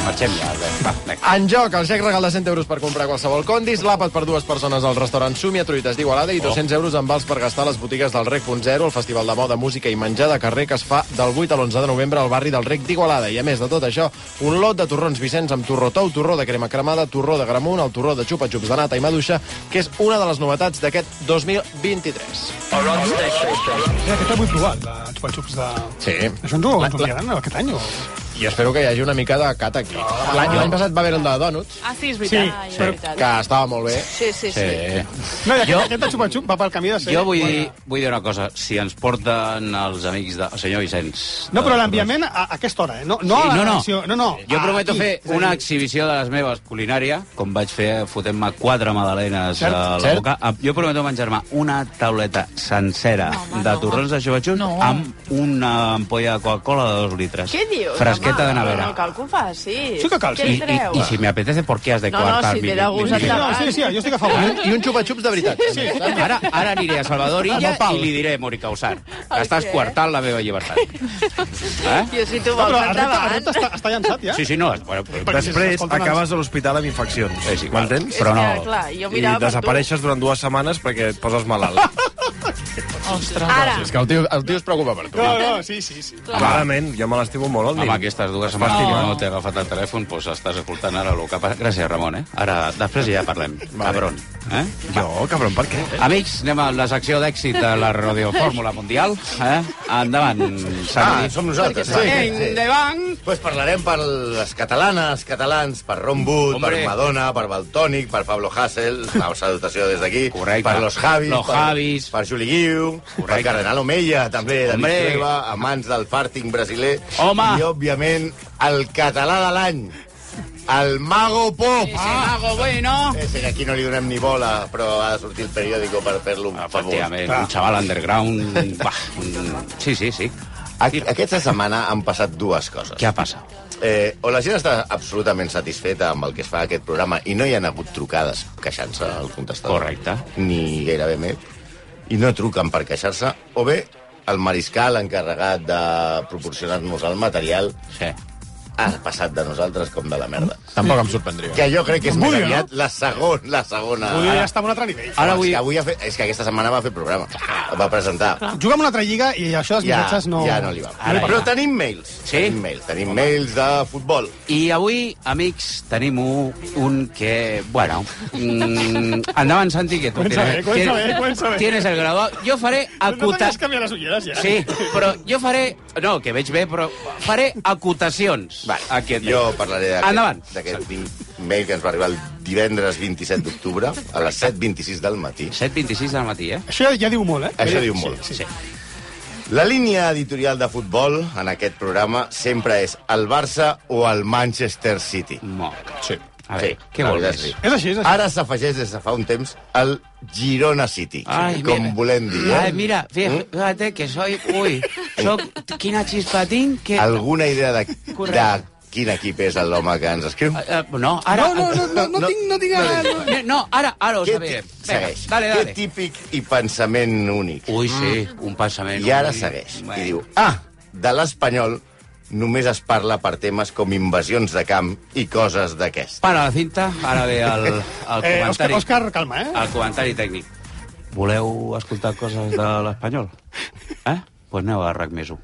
[SPEAKER 2] Marxem ja, Albert. Va, vinga.
[SPEAKER 1] En joc, el xec regal de 100 euros per comprar qualsevol condis, l'àpat per dues persones al restaurant Sumi a Truites d'Igualada i 200 euros en vals per gastar a les botigues del Rec.0, el festival de moda, música i menjar de carrer que es fa del 8 a l'11 de novembre al barri del Rec d'Igualada. I a més de tot això, un lot de torrons Vicenç amb torró tou, torró de crema cremada, torró de gramunt, el torró de xupa-xups de nata i maduixa, que és una de les novetats d'aquest 2023.
[SPEAKER 8] Ja, que t'ha vull provar, de xupa-xups de...
[SPEAKER 1] Sí.
[SPEAKER 8] Això ens ho ens ho enviaran aquest any, o...?
[SPEAKER 1] I espero que hi hagi una mica de cata aquí. L'any l'any passat va haver el de Donuts,
[SPEAKER 6] Ah, sí, és
[SPEAKER 8] Sí,
[SPEAKER 6] veritat.
[SPEAKER 8] sí.
[SPEAKER 6] Ai,
[SPEAKER 1] que estava molt bé.
[SPEAKER 5] Sí, sí, sí.
[SPEAKER 8] No, i aquest, aquest de xupa-xup va pel camí de ser...
[SPEAKER 2] Eh, Jo vull dir, vull dir una cosa. Si ens porten els amics del senyor Vicenç...
[SPEAKER 8] No, però l'enviament a a aquesta hora, eh? No, no, a
[SPEAKER 2] Sí,
[SPEAKER 8] la
[SPEAKER 2] no, no.
[SPEAKER 8] redacció, no, no. Ah,
[SPEAKER 2] Jo prometo
[SPEAKER 8] aquí, és a
[SPEAKER 2] fer
[SPEAKER 8] dir,
[SPEAKER 2] una exhibició de les meves culinària, com vaig fer fotent-me quatre magdalenes
[SPEAKER 8] Cert,
[SPEAKER 2] a la
[SPEAKER 8] cert.
[SPEAKER 2] boca. Ah, Jo prometo menjar-me una tauleta sencera de torrons de xubatxups amb una ampolla de Coca-Cola de dos litres.
[SPEAKER 5] Què dius? home?
[SPEAKER 2] Fresqueta de nevera.
[SPEAKER 5] No cal que ho facis.
[SPEAKER 8] Sí que cal,
[SPEAKER 5] Què
[SPEAKER 2] I,
[SPEAKER 5] el
[SPEAKER 2] i,
[SPEAKER 5] treu?
[SPEAKER 2] I si me apetece, ¿por qué has de
[SPEAKER 5] No, no,
[SPEAKER 2] coartar
[SPEAKER 5] si
[SPEAKER 2] mi-
[SPEAKER 5] te da
[SPEAKER 2] mi-
[SPEAKER 5] gust,
[SPEAKER 2] mi-
[SPEAKER 8] Sí, no, sí, sí, jo estic a favor. eh?
[SPEAKER 1] I un, i un xupa-xups de veritat.
[SPEAKER 8] Sí.
[SPEAKER 2] Ara, ara aniré a Salvador Illa i li diré, Mònica Usar,
[SPEAKER 5] El
[SPEAKER 2] estàs
[SPEAKER 5] què?
[SPEAKER 2] coartant la meva llibertat. Eh?
[SPEAKER 5] Tio, si tu
[SPEAKER 8] No,
[SPEAKER 5] vols,
[SPEAKER 8] però el repte, el
[SPEAKER 5] endavant.
[SPEAKER 8] repte està, està llançat, ja?
[SPEAKER 2] Sí, sí, no. Bueno,
[SPEAKER 3] Després
[SPEAKER 8] Escolta,
[SPEAKER 3] acabes a l'hospital amb infeccions.
[SPEAKER 2] És igual.
[SPEAKER 3] M'entens?
[SPEAKER 5] És Però no. que, clar, jo
[SPEAKER 3] I
[SPEAKER 5] mirava per
[SPEAKER 3] desapareixes durant dues setmanes perquè et poses malalt.
[SPEAKER 6] Ostres.
[SPEAKER 5] Ara,
[SPEAKER 1] És que el tio, el tio es preocupa per tu.
[SPEAKER 8] No, no, sí, sí, sí.
[SPEAKER 3] Clarament, jo me l'estimo molt, el
[SPEAKER 2] Home,
[SPEAKER 3] nen.
[SPEAKER 2] aquestes dues setmanes que no t'he agafat el telèfon, doncs estàs escoltant ara el que passa. Gràcies, Ramon, eh? Ara, després ja parlem. Cabron. Eh?
[SPEAKER 3] Jo, cabron, per què?
[SPEAKER 2] Amics, anem a la secció d'èxit de la Radio Fórmula Mundial. Eh? Endavant,
[SPEAKER 4] Ah,
[SPEAKER 2] Sandy.
[SPEAKER 4] som nosaltres.
[SPEAKER 2] Perquè
[SPEAKER 4] sí, sí, sí.
[SPEAKER 6] Endavant.
[SPEAKER 4] Pues parlarem per les catalanes, catalans, per Ron Wood,
[SPEAKER 2] Mm, Hombre.
[SPEAKER 4] per Madonna, per Baltònic, per Pablo Hassel, la salutació des d'aquí,
[SPEAKER 2] Correcte.
[SPEAKER 4] per los Javis,
[SPEAKER 2] Los
[SPEAKER 4] per,
[SPEAKER 2] Javis.
[SPEAKER 4] per Juli Guiu, per Cardenal Omeia, també, de
[SPEAKER 2] Hombre.
[SPEAKER 4] Vichueva, amants del fàrting brasiler,
[SPEAKER 2] Home.
[SPEAKER 4] i, òbviament, el català de l'any, el Mago Pop.
[SPEAKER 2] Ah, Mago Bueno.
[SPEAKER 4] Ese que aquí no li donem ni bola, però ha de sortir el periòdico per fer-lo un favor.
[SPEAKER 2] Efectivament, un xaval underground... Bah, un... Sí, sí, sí.
[SPEAKER 4] Aqu- Aquesta setmana han passat dues coses.
[SPEAKER 2] Què passa?
[SPEAKER 4] Eh, o la gent està absolutament satisfeta amb el que es fa a aquest programa i no hi han hagut trucades queixant-se al contestador.
[SPEAKER 2] Correcte.
[SPEAKER 4] Ni gairebé més. I no truquen per queixar-se. O bé, el mariscal encarregat de proporcionar-nos el material
[SPEAKER 2] Sí.
[SPEAKER 4] ha passat de nosaltres com de la merda.
[SPEAKER 1] Tampoc em sorprendria.
[SPEAKER 4] Que jo crec que és més
[SPEAKER 8] Vull, no?
[SPEAKER 4] aviat la, segon, la segona.
[SPEAKER 8] Vull dir, ja està en un altre nivell.
[SPEAKER 4] Ara avui... És que, avui ha fet, és que aquesta setmana va fer programa. Va presentar.
[SPEAKER 8] Juga amb una altra lliga i això dels missatges no...
[SPEAKER 4] ja no li va.
[SPEAKER 2] Ara
[SPEAKER 4] Però
[SPEAKER 2] ja.
[SPEAKER 4] tenim mails.
[SPEAKER 2] Sí?
[SPEAKER 4] Tenim mails, tenim mails de futbol.
[SPEAKER 2] I avui, amics, tenim un, un que... Bueno, mm, endavant, Santi, que tu
[SPEAKER 8] Comença bé,
[SPEAKER 2] tienes,
[SPEAKER 8] comença
[SPEAKER 2] tienes-
[SPEAKER 8] bé, comença bé.
[SPEAKER 2] tienes el graduado. Jo faré
[SPEAKER 8] No
[SPEAKER 2] acotar...
[SPEAKER 8] t'has canviat les ulleres, ja?
[SPEAKER 2] Sí, però jo faré... No, que veig bé, però faré acotacions.
[SPEAKER 4] Vale,
[SPEAKER 2] Aquest
[SPEAKER 4] jo parlaré d'aquest-
[SPEAKER 2] Endavant.
[SPEAKER 4] d'aquest mail que ens va arribar el divendres 27 d'octubre a les 7.26 del matí.
[SPEAKER 2] 7.26 del matí, eh?
[SPEAKER 8] Això ja diu molt, eh?
[SPEAKER 4] Això diu molt.
[SPEAKER 8] Sí, sí.
[SPEAKER 2] Sí.
[SPEAKER 4] La línia editorial de futbol en aquest programa sempre és el Barça o el Manchester City.
[SPEAKER 2] Moc.
[SPEAKER 4] Sí.
[SPEAKER 2] A veure, què vol més?
[SPEAKER 8] És així, és així.
[SPEAKER 4] Ara s'afegeix des de fa un temps el Girona City,
[SPEAKER 2] Ai,
[SPEAKER 4] com
[SPEAKER 2] mira.
[SPEAKER 4] volem dir. eh?
[SPEAKER 2] Ai, mira, fí- fíjate que soy... Ui, soc... Quina xispatín que...
[SPEAKER 4] Alguna idea de, de
[SPEAKER 2] Correcte.
[SPEAKER 4] quin equip és l'home que ens escriu?
[SPEAKER 2] Eh, no, ara...
[SPEAKER 8] No, no, no, no, no,
[SPEAKER 4] No,
[SPEAKER 8] tinc, no tinc... No, no,
[SPEAKER 2] no, no ara, ara ho
[SPEAKER 4] Què
[SPEAKER 2] sabré.
[SPEAKER 4] ti-
[SPEAKER 2] Vinga,
[SPEAKER 4] segueix.
[SPEAKER 2] dale, dale.
[SPEAKER 4] Què típic i pensament únic.
[SPEAKER 2] Ui, sí, un pensament...
[SPEAKER 4] Mm. I ara
[SPEAKER 2] ui.
[SPEAKER 4] segueix.
[SPEAKER 2] Bueno.
[SPEAKER 4] I diu, ah, de l'espanyol només es parla per temes com invasions de camp i coses d'aquest.
[SPEAKER 2] Para la cinta, ara ve el, el
[SPEAKER 8] Eh, Òscar,
[SPEAKER 2] comentari.
[SPEAKER 8] Òscar, calma, eh?
[SPEAKER 2] El comentari tècnic. Voleu escoltar coses de l'espanyol? Eh? Doncs pues aneu a RAC més 1.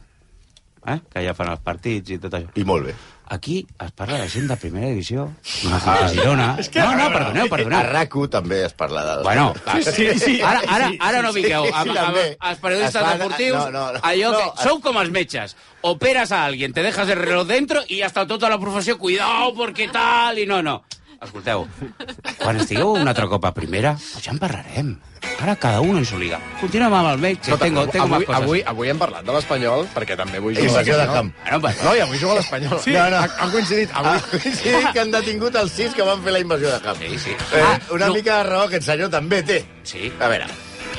[SPEAKER 2] Eh? Que ja fan els partits i tot això.
[SPEAKER 4] I molt bé.
[SPEAKER 2] Aquí es parla de gent de primera divisió, una cinta ah, Girona...
[SPEAKER 8] que-
[SPEAKER 2] No, no, perdoneu,
[SPEAKER 4] A
[SPEAKER 2] perdoneu.
[SPEAKER 4] RAC1 també es parla de...
[SPEAKER 2] Bueno,
[SPEAKER 8] Sí, sí.
[SPEAKER 2] ara, ara,
[SPEAKER 8] Sí,
[SPEAKER 2] ara no
[SPEAKER 4] sí,
[SPEAKER 2] vingueu.
[SPEAKER 4] sí,
[SPEAKER 2] Amb, amb,
[SPEAKER 4] també.
[SPEAKER 2] els periodistes
[SPEAKER 4] Es fan-
[SPEAKER 2] deportius,
[SPEAKER 4] no, no, no.
[SPEAKER 2] allò que...
[SPEAKER 4] No, es-
[SPEAKER 2] Sou com els metges. Operes a alguien, te dejas el reloj dentro i ja està tota la professió, cuidao, porque tal, i no, no. Escolteu, quan estigueu un altre cop a primera, doncs ja en parlarem. Ara cada un en su liga. Continuem amb el metge.
[SPEAKER 1] Escolta,
[SPEAKER 2] tengo, tengo
[SPEAKER 1] avui,
[SPEAKER 2] más cosas.
[SPEAKER 1] avui, avui hem parlat de l'Espanyol, perquè també avui
[SPEAKER 2] Sí,
[SPEAKER 1] jugo
[SPEAKER 2] secció de camp.
[SPEAKER 1] No, i avui jugo a l'Espanyol.
[SPEAKER 4] Sí. No, no.
[SPEAKER 1] Ha- Han coincidit. Avui...
[SPEAKER 4] Ah, sí, que han detingut els sis que van fer la invasió de camp. Sí, sí. Eh, una
[SPEAKER 2] no.
[SPEAKER 4] mica de raó que el senyor també té.
[SPEAKER 2] Sí.
[SPEAKER 4] A veure,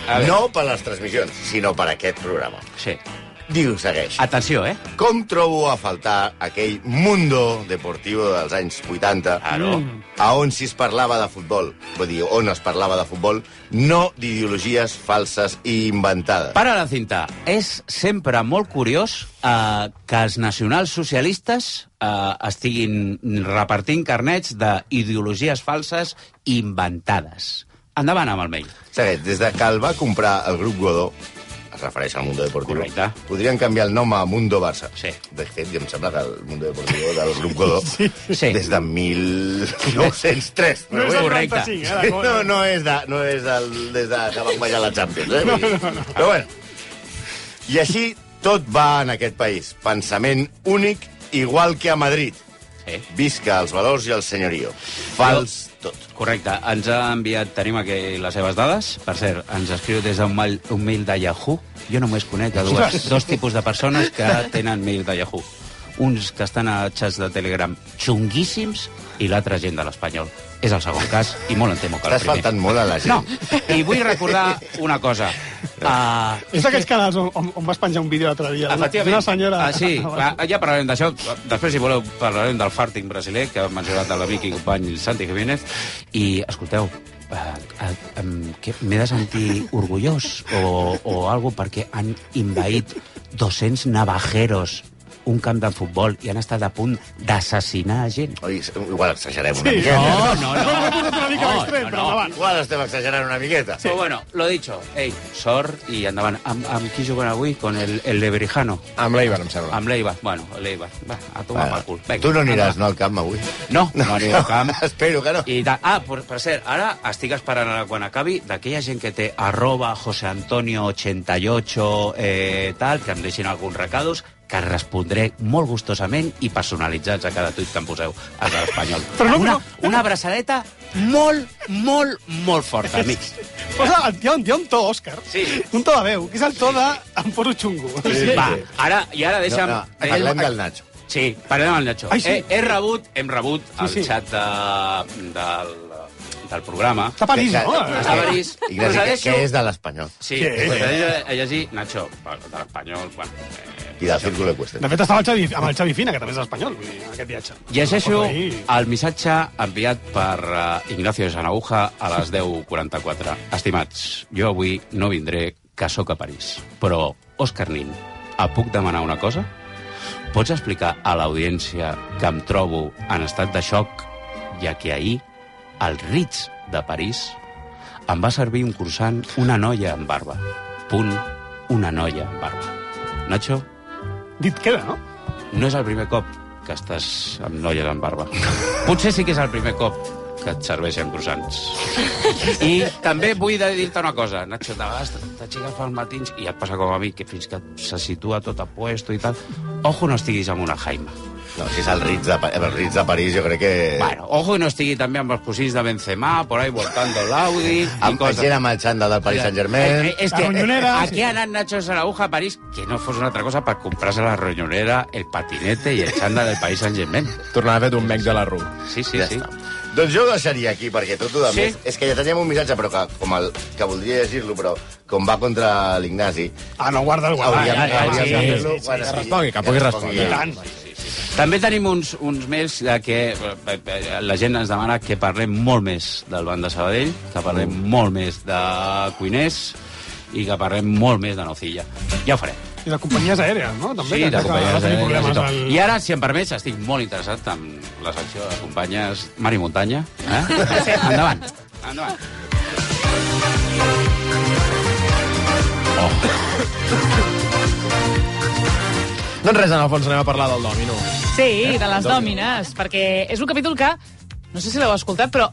[SPEAKER 4] a veure, no per les transmissions, sinó per aquest programa.
[SPEAKER 2] Sí.
[SPEAKER 4] Diu, segueix.
[SPEAKER 2] Atenció, eh?
[SPEAKER 4] Com trobo a faltar aquell mundo deportivo dels anys 80
[SPEAKER 2] Claro.
[SPEAKER 4] a on si es parlava de futbol, vull dir, on es parlava de futbol, no d'ideologies falses i inventades.
[SPEAKER 2] Para la cinta. És sempre molt curiós eh, que els nacionalsocialistes eh, estiguin repartint carnets d'ideologies falses inventades. Endavant amb el mail.
[SPEAKER 4] Segueix, des de que el va comprar el grup Godó, es refereix al Mundo Deportivo, Correcte. podrien canviar el nom a Mundo Barça. Sí. De fet, ja em sembla que el Mundo Deportivo del grup Godó sí. des de 1903.
[SPEAKER 11] No és del Correcte. 95, eh, la cosa.
[SPEAKER 4] no, no és, de, no és del, des de que van guanyar la Champions. Eh? No, no, no. Però bueno, i així tot va en aquest país. Pensament únic, igual que a Madrid.
[SPEAKER 2] Sí.
[SPEAKER 4] Visca els valors i el senyorio. Fals tot.
[SPEAKER 2] Correcte. Ens ha enviat, tenim aquí les seves dades. Per cert, ens escriu des d'un mail, un mail de Yahoo. Jo només conec a dues, dos tipus de persones que tenen mail de Yahoo. Uns que estan a xats de Telegram xunguíssims i l'altra gent de l'Espanyol. És el segon cas, i molt en temo que el
[SPEAKER 4] Estàs
[SPEAKER 2] primer.
[SPEAKER 4] faltant molt a la gent.
[SPEAKER 2] No, i vull recordar una cosa. Uh,
[SPEAKER 8] És d'aquells canals on, on, on vas penjar un vídeo l'altre dia. Una senyora...
[SPEAKER 2] Ah, sí, clar, ja parlarem d'això. Després, si voleu, parlarem del farting brasiler, que ha mencionat l'amic i company Santi Jiménez. I, escolteu, eh, eh, em- que m'he de sentir orgullós o, o algo perquè han invaït 200 navajeros un camp de futbol i han estat a punt d'assassinar gent.
[SPEAKER 4] Oi, igual exagerem eh?
[SPEAKER 2] una miqueta. No, no, no. No, no, no.
[SPEAKER 4] Igual estem exagerant una miqueta.
[SPEAKER 2] Però bueno, lo dicho. Ei, sort i endavant. Amb, amb qui juguen avui? Con el, el Lebrijano.
[SPEAKER 1] Amb l'Eibar, em sembla.
[SPEAKER 2] Amb l'Eibar. Bueno, l'Eibar. Va, a tomar bueno, pel cul. Vinga,
[SPEAKER 4] tu no
[SPEAKER 2] endavant.
[SPEAKER 4] aniràs no, al camp avui?
[SPEAKER 2] No, no aniré al camp.
[SPEAKER 4] Espero que no.
[SPEAKER 2] I tal. Ah, per, per cert, ara estic esperant ara quan acabi d'aquella gent que té arroba joseantonio88 eh, tal, que em deixin alguns recados, que respondré molt gustosament i personalitzats a cada tuit que em poseu a l'espanyol.
[SPEAKER 8] Però no,
[SPEAKER 2] una,
[SPEAKER 8] no.
[SPEAKER 2] una abraçadeta molt, molt, molt forta, amics.
[SPEAKER 8] Posa, hi, ha un, hi ha un to, Òscar.
[SPEAKER 2] Sí.
[SPEAKER 8] Un to de veu, que és el to de... Em poso xungo.
[SPEAKER 2] Va, ara, i ara deixa'm...
[SPEAKER 4] No, no, parlem del Nacho.
[SPEAKER 2] Sí, parlem del Nacho. Eh,
[SPEAKER 8] Ai, sí.
[SPEAKER 2] he, he rebut, hem rebut sí, el
[SPEAKER 8] sí.
[SPEAKER 2] xat de, del, del programa.
[SPEAKER 8] Està a París, no? Eh,
[SPEAKER 2] Està a París.
[SPEAKER 4] Ignasi,
[SPEAKER 2] Us la
[SPEAKER 4] que,
[SPEAKER 2] deixo-
[SPEAKER 4] que és de l'Espanyol.
[SPEAKER 2] Sí,
[SPEAKER 8] Què?
[SPEAKER 2] us la deixo a llegir Nacho, de l'Espanyol. Bueno, eh,
[SPEAKER 4] I del Círculo de Cuestes.
[SPEAKER 8] De fet, estava el Xavi, amb el Xavi Fina, que també és espanyol, vull dir, en aquest viatge.
[SPEAKER 2] Llegeixo
[SPEAKER 8] Ahí.
[SPEAKER 2] el missatge enviat per uh, Ignacio de Sanauja a les 10.44. Estimats, jo avui no vindré, que sóc a París. Però, Òscar Nin, et puc demanar una cosa? Pots explicar a l'audiència que em trobo en estat de xoc, ja que ahir, al Ritz de París, em va servir un cursant una noia amb barba. Punt, una noia amb barba. Nacho,
[SPEAKER 8] Dit queda, no?
[SPEAKER 2] no és el primer cop que estàs amb noies amb barba. Potser sí que és el primer cop que et serveixen croissants. I també vull de dir-te una cosa, Nacho, de vegades t'aixeques pels matins i et passa com a mi, que fins que se situa tot a puesto i tal. Ojo no estiguis amb una jaima.
[SPEAKER 4] No, si és el Ritz de, Pa- el Ritz de París, jo crec que...
[SPEAKER 2] Bueno, ojo no estigui també amb els cosins de Benzema, por ahí voltando l'Audi... i
[SPEAKER 4] Amb
[SPEAKER 2] coses.
[SPEAKER 4] gent amb el xandall del Paris Saint-Germain...
[SPEAKER 2] Eh, eh, és que aquí ha anat Nacho Sarauja a París que no fos una altra cosa per comprar-se la ronyonera, el patinete i el xanda del Paris Saint-Germain.
[SPEAKER 1] Tornava fet un mec de la rua.
[SPEAKER 2] Sí, sí,
[SPEAKER 4] Ja
[SPEAKER 2] eh, sí.
[SPEAKER 4] està. Doncs jo ho deixaria aquí, perquè tot el
[SPEAKER 2] Sí?
[SPEAKER 4] sí? més... És que ja teníem un missatge, però que, com el, que voldria llegir-lo, però com va contra l'Ignasi...
[SPEAKER 8] Ah, no, guarda el guarda.
[SPEAKER 4] Hauríem,
[SPEAKER 2] Ah, ja, ja,
[SPEAKER 4] hauríem
[SPEAKER 2] sí,
[SPEAKER 4] de fer-lo
[SPEAKER 2] sí, sí,
[SPEAKER 4] quan
[SPEAKER 2] que
[SPEAKER 4] estigui-
[SPEAKER 2] respongui, que pugui
[SPEAKER 4] que
[SPEAKER 2] respondre.
[SPEAKER 4] respongui.
[SPEAKER 2] També tenim uns, uns mails de que eh, eh, la gent ens demana que parlem molt més del Banc de Sabadell, que parlem molt més de cuiners i que parlem molt més de nocilla. Ja ho farem.
[SPEAKER 8] I de companyies aèries, no? També,
[SPEAKER 2] Sí,
[SPEAKER 8] que
[SPEAKER 2] de
[SPEAKER 8] crec que
[SPEAKER 2] companyes
[SPEAKER 8] va tenir
[SPEAKER 2] aèries i
[SPEAKER 8] problemes
[SPEAKER 2] tot.
[SPEAKER 8] al-
[SPEAKER 2] I ara, si em permets, estic molt interessat en la secció de companyes Mar i Muntanya. Eh? Endavant. Endavant.
[SPEAKER 1] Doncs res, en el fons anem a parlar del domino.
[SPEAKER 6] Sí, de les dòmines, perquè és un capítol que, no sé si l'heu escoltat, però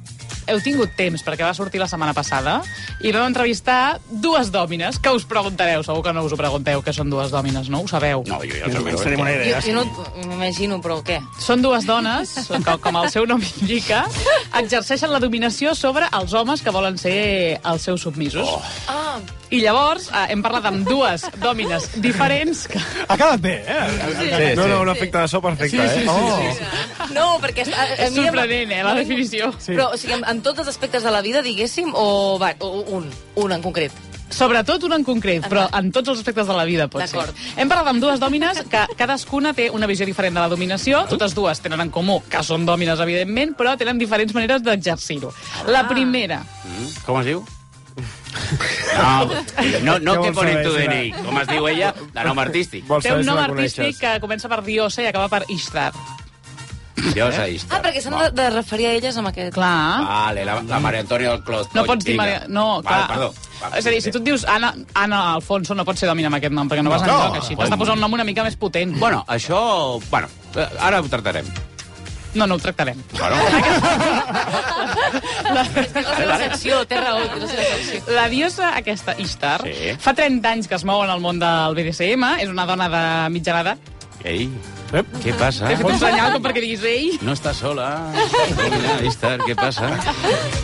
[SPEAKER 6] heu tingut temps, perquè va sortir la setmana passada, i vam entrevistar dues dòmines, que us preguntareu, segur que no us ho pregunteu, que són dues dòmines, no? Ho sabeu? No,
[SPEAKER 2] jo
[SPEAKER 6] ja sabeu. Tenim una
[SPEAKER 7] Jo, jo no m'imagino, però què?
[SPEAKER 6] Són dues dones, que, com el seu nom indica, exerceixen la dominació sobre els homes que volen ser els seus submisos. Oh.
[SPEAKER 7] Ah,
[SPEAKER 6] I llavors eh, hem parlat amb dues dòmines diferents. Que...
[SPEAKER 3] Ha quedat bé, eh? Sí, no, no, un efecte de so perfecte,
[SPEAKER 6] Sí, sí,
[SPEAKER 3] eh?
[SPEAKER 6] sí, sí.
[SPEAKER 7] no, perquè... A, a
[SPEAKER 6] És
[SPEAKER 7] mi em-
[SPEAKER 6] sorprenent, eh, la definició.
[SPEAKER 7] Sí. Però, o sigui, en, en tots els aspectes de la vida, diguéssim, o, va, o un, un en concret?
[SPEAKER 6] Sobretot un en concret, però en tots els aspectes de la vida, pot ser.
[SPEAKER 7] D'acord.
[SPEAKER 6] Hem parlat amb dues dòmines que cadascuna té una visió diferent de la dominació. Totes dues tenen en comú que són dòmines, evidentment, però tenen diferents maneres d'exercir-ho.
[SPEAKER 7] Ah.
[SPEAKER 6] La primera,
[SPEAKER 2] Com es diu? No, no, no
[SPEAKER 6] Què
[SPEAKER 2] que
[SPEAKER 6] vols
[SPEAKER 2] pone
[SPEAKER 6] saber,
[SPEAKER 2] tu
[SPEAKER 6] si la-
[SPEAKER 2] DNI. Com es diu ella? De nom artístic.
[SPEAKER 6] té un nom artístic que comença per Diosa i acaba per Ishtar.
[SPEAKER 2] Diosa Ishtar.
[SPEAKER 7] Ah, perquè s'han de, de referir a elles amb aquest...
[SPEAKER 6] Clar.
[SPEAKER 2] Vale, la, la Maria Antonia del Clot.
[SPEAKER 6] Ah? No pots dir...
[SPEAKER 2] Vinga.
[SPEAKER 6] Maria... No,
[SPEAKER 2] Val,
[SPEAKER 6] clar.
[SPEAKER 2] perdó.
[SPEAKER 6] És a dir, si tu et dius Anna, Anna Alfonso, no pots ser dòmina amb aquest nom, perquè no vas
[SPEAKER 2] No.
[SPEAKER 6] enlloc així. T'has de posar un nom una mica més potent.
[SPEAKER 2] Bueno, això... Bueno, eh, ara ho tractarem.
[SPEAKER 6] No, no ho tractarem. La,
[SPEAKER 7] la seva secció, té raó, té la seva secció.
[SPEAKER 6] La diosa aquesta, Ishtar,
[SPEAKER 2] Sí.
[SPEAKER 6] sí. fa 30 anys que es mou en el món del BDSM, és una dona de mitjana edat.
[SPEAKER 2] Ei, Eh? què passa?
[SPEAKER 6] T'he fet un senyal com perquè diguis ei.
[SPEAKER 2] No està sola. Mira, Ishtar, què passa?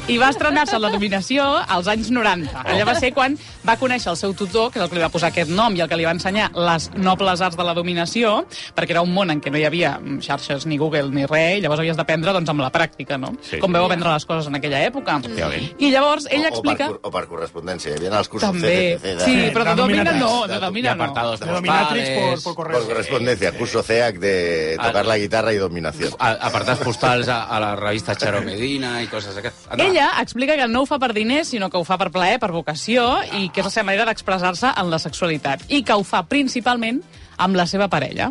[SPEAKER 6] I va estrenar-se en la dominació als anys 90. Allà va ser quan va conèixer el seu tutor, que és el que li va posar aquest nom i el que li va ensenyar les nobles arts de la dominació, perquè era un món en què no hi havia mm, xarxes ni Google ni res, i llavors havies d'aprendre doncs, amb la pràctica, no?
[SPEAKER 4] Sí.
[SPEAKER 6] Sí, Com veu aprendre les coses en aquella època. I llavors ella
[SPEAKER 4] o,
[SPEAKER 6] explica...
[SPEAKER 4] O per, cor- o per correspondència, hi havia els cursos
[SPEAKER 6] També.
[SPEAKER 4] CCC.
[SPEAKER 6] Sí, però de domina no, de domina no.
[SPEAKER 2] apartados
[SPEAKER 4] de
[SPEAKER 2] dominatrix postales. por-
[SPEAKER 4] correspondència. Por correspondencia, curso CEAC de tocar la guitarra i dominació.
[SPEAKER 2] A, apartats postals a, a la revista Charo Medina i coses d'aquestes. Endavant.
[SPEAKER 6] Ella explica que no ho fa per diners, sinó que ho fa per plaer, per vocació, i que és la seva manera d'expressar-se en la sexualitat. I que ho fa principalment amb la seva parella.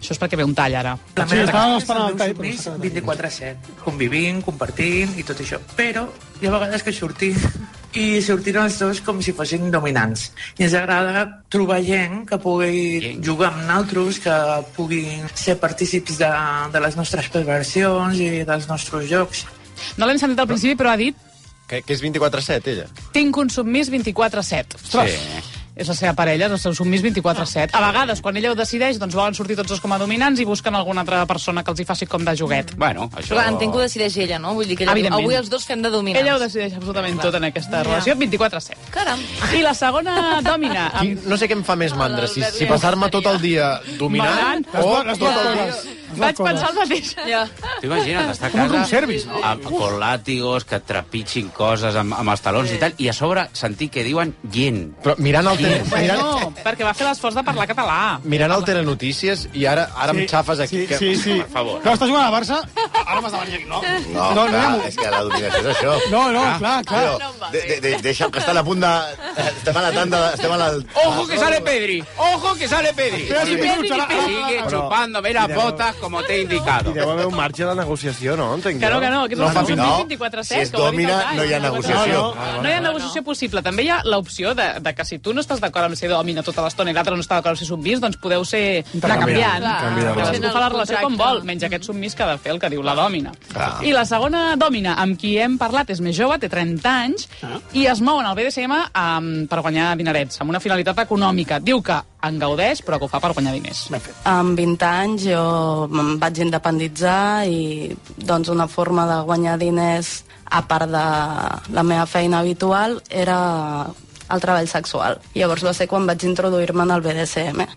[SPEAKER 6] Això és perquè ve un tall, ara.
[SPEAKER 15] Sí, estàvem esperant el tall. 24-7, convivint, compartint i tot això. Però hi ha vegades que sortim i sortim els dos com si fossin dominants. I ens agrada trobar gent que pugui jugar amb naltros, que puguin ser partícips de, de les nostres perversions i dels nostres jocs.
[SPEAKER 6] No l'hem sentit al principi, però ha dit
[SPEAKER 1] Que, que és 24-7, ella.
[SPEAKER 6] tinc un submís 24-7. Ostres! Sí. És la seva parella, és el seu submís 24-7. A vegades, quan ella ho decideix, doncs volen sortir tots dos com a dominants i busquen alguna altra persona que els hi faci com de joguet.
[SPEAKER 2] Bueno,
[SPEAKER 7] Però clar, entenc que ho decideix ella, no? Vull dir que ella, diu,
[SPEAKER 6] Evidentment.
[SPEAKER 7] avui els dos fem de dominants.
[SPEAKER 6] Ella ho decideix absolutament tot en aquesta relació, 24-7.
[SPEAKER 7] Caram.
[SPEAKER 6] I la segona dòmina...
[SPEAKER 1] Qui, no sé què em fa més mandra, si, si passar-me tot el dia dominant
[SPEAKER 6] Malant.
[SPEAKER 1] o
[SPEAKER 6] Les dues
[SPEAKER 1] tot el
[SPEAKER 6] coses.
[SPEAKER 1] dia...
[SPEAKER 6] Vaig pensar el mateix. Ja.
[SPEAKER 2] T'ho imagines, estar a
[SPEAKER 6] Com un
[SPEAKER 2] casa...
[SPEAKER 6] room service,
[SPEAKER 2] no? Amb, con látigos, que et trepitgin coses amb, amb els talons i tal, i a sobre sentir que diuen yen.
[SPEAKER 1] Però mirant el tele... Mirant,
[SPEAKER 6] No, perquè va fer l'esforç de parlar català.
[SPEAKER 1] mirant el telenotícies i ara, ara em
[SPEAKER 8] Sí,
[SPEAKER 1] xafes aquí.
[SPEAKER 8] sí, sí, sí.
[SPEAKER 1] Per favor.
[SPEAKER 8] Clar, estàs jugant a Barça, ara m'has de venir aquí, no?
[SPEAKER 4] No,
[SPEAKER 8] no,
[SPEAKER 4] clar,
[SPEAKER 8] no,
[SPEAKER 4] és que la dominació és això.
[SPEAKER 8] No, no,
[SPEAKER 2] Ah.
[SPEAKER 8] clar, clar.
[SPEAKER 4] Tio, de, de, de, deixa'm que està a la punta... Estem a la tanda... de- Estem a la...
[SPEAKER 6] Ah,
[SPEAKER 2] Ojo que sale Pedri, ojo que sale Pedri.
[SPEAKER 4] Espera, sí,
[SPEAKER 2] Pedri
[SPEAKER 4] minuts,
[SPEAKER 2] que
[SPEAKER 4] ara-
[SPEAKER 2] sigue
[SPEAKER 6] ah,
[SPEAKER 3] Però-
[SPEAKER 2] chupándome las botas como te he indicado.
[SPEAKER 3] I deu haver un marge de negociació, no? Entenc
[SPEAKER 6] Que no, que no, que és no, un
[SPEAKER 3] no.
[SPEAKER 6] 24-7.
[SPEAKER 3] Si és
[SPEAKER 6] que ho ha dit el
[SPEAKER 3] dòmina,
[SPEAKER 6] Dai.
[SPEAKER 3] no hi ha negociació. Ah,
[SPEAKER 6] No, no, no hi ha negociació possible. També hi ha l'opció de, de que si tu no estàs d'acord amb ser dòmina tota l'estona i l'altre no està d'acord amb ser submís, doncs podeu ser anar
[SPEAKER 7] Intercanviant.
[SPEAKER 6] canviant.
[SPEAKER 7] Clar. Canviar de
[SPEAKER 6] Cadascú
[SPEAKER 7] relació.
[SPEAKER 6] fa la relació com vol, menys aquest submís que ha de fer el que diu la dòmina. I la segona dòmina amb qui hem parlat és més jove, té 30 anys, i es mou en el BDSM um, per guanyar dinerets, amb una finalitat econòmica. Diu que en gaudeix, però que ho fa per guanyar diners.
[SPEAKER 16] Amb 20 anys jo em vaig independitzar i doncs una forma de guanyar diners a part de la meva feina habitual era el treball sexual. Llavors va ser quan vaig introduir-me en el BDSM.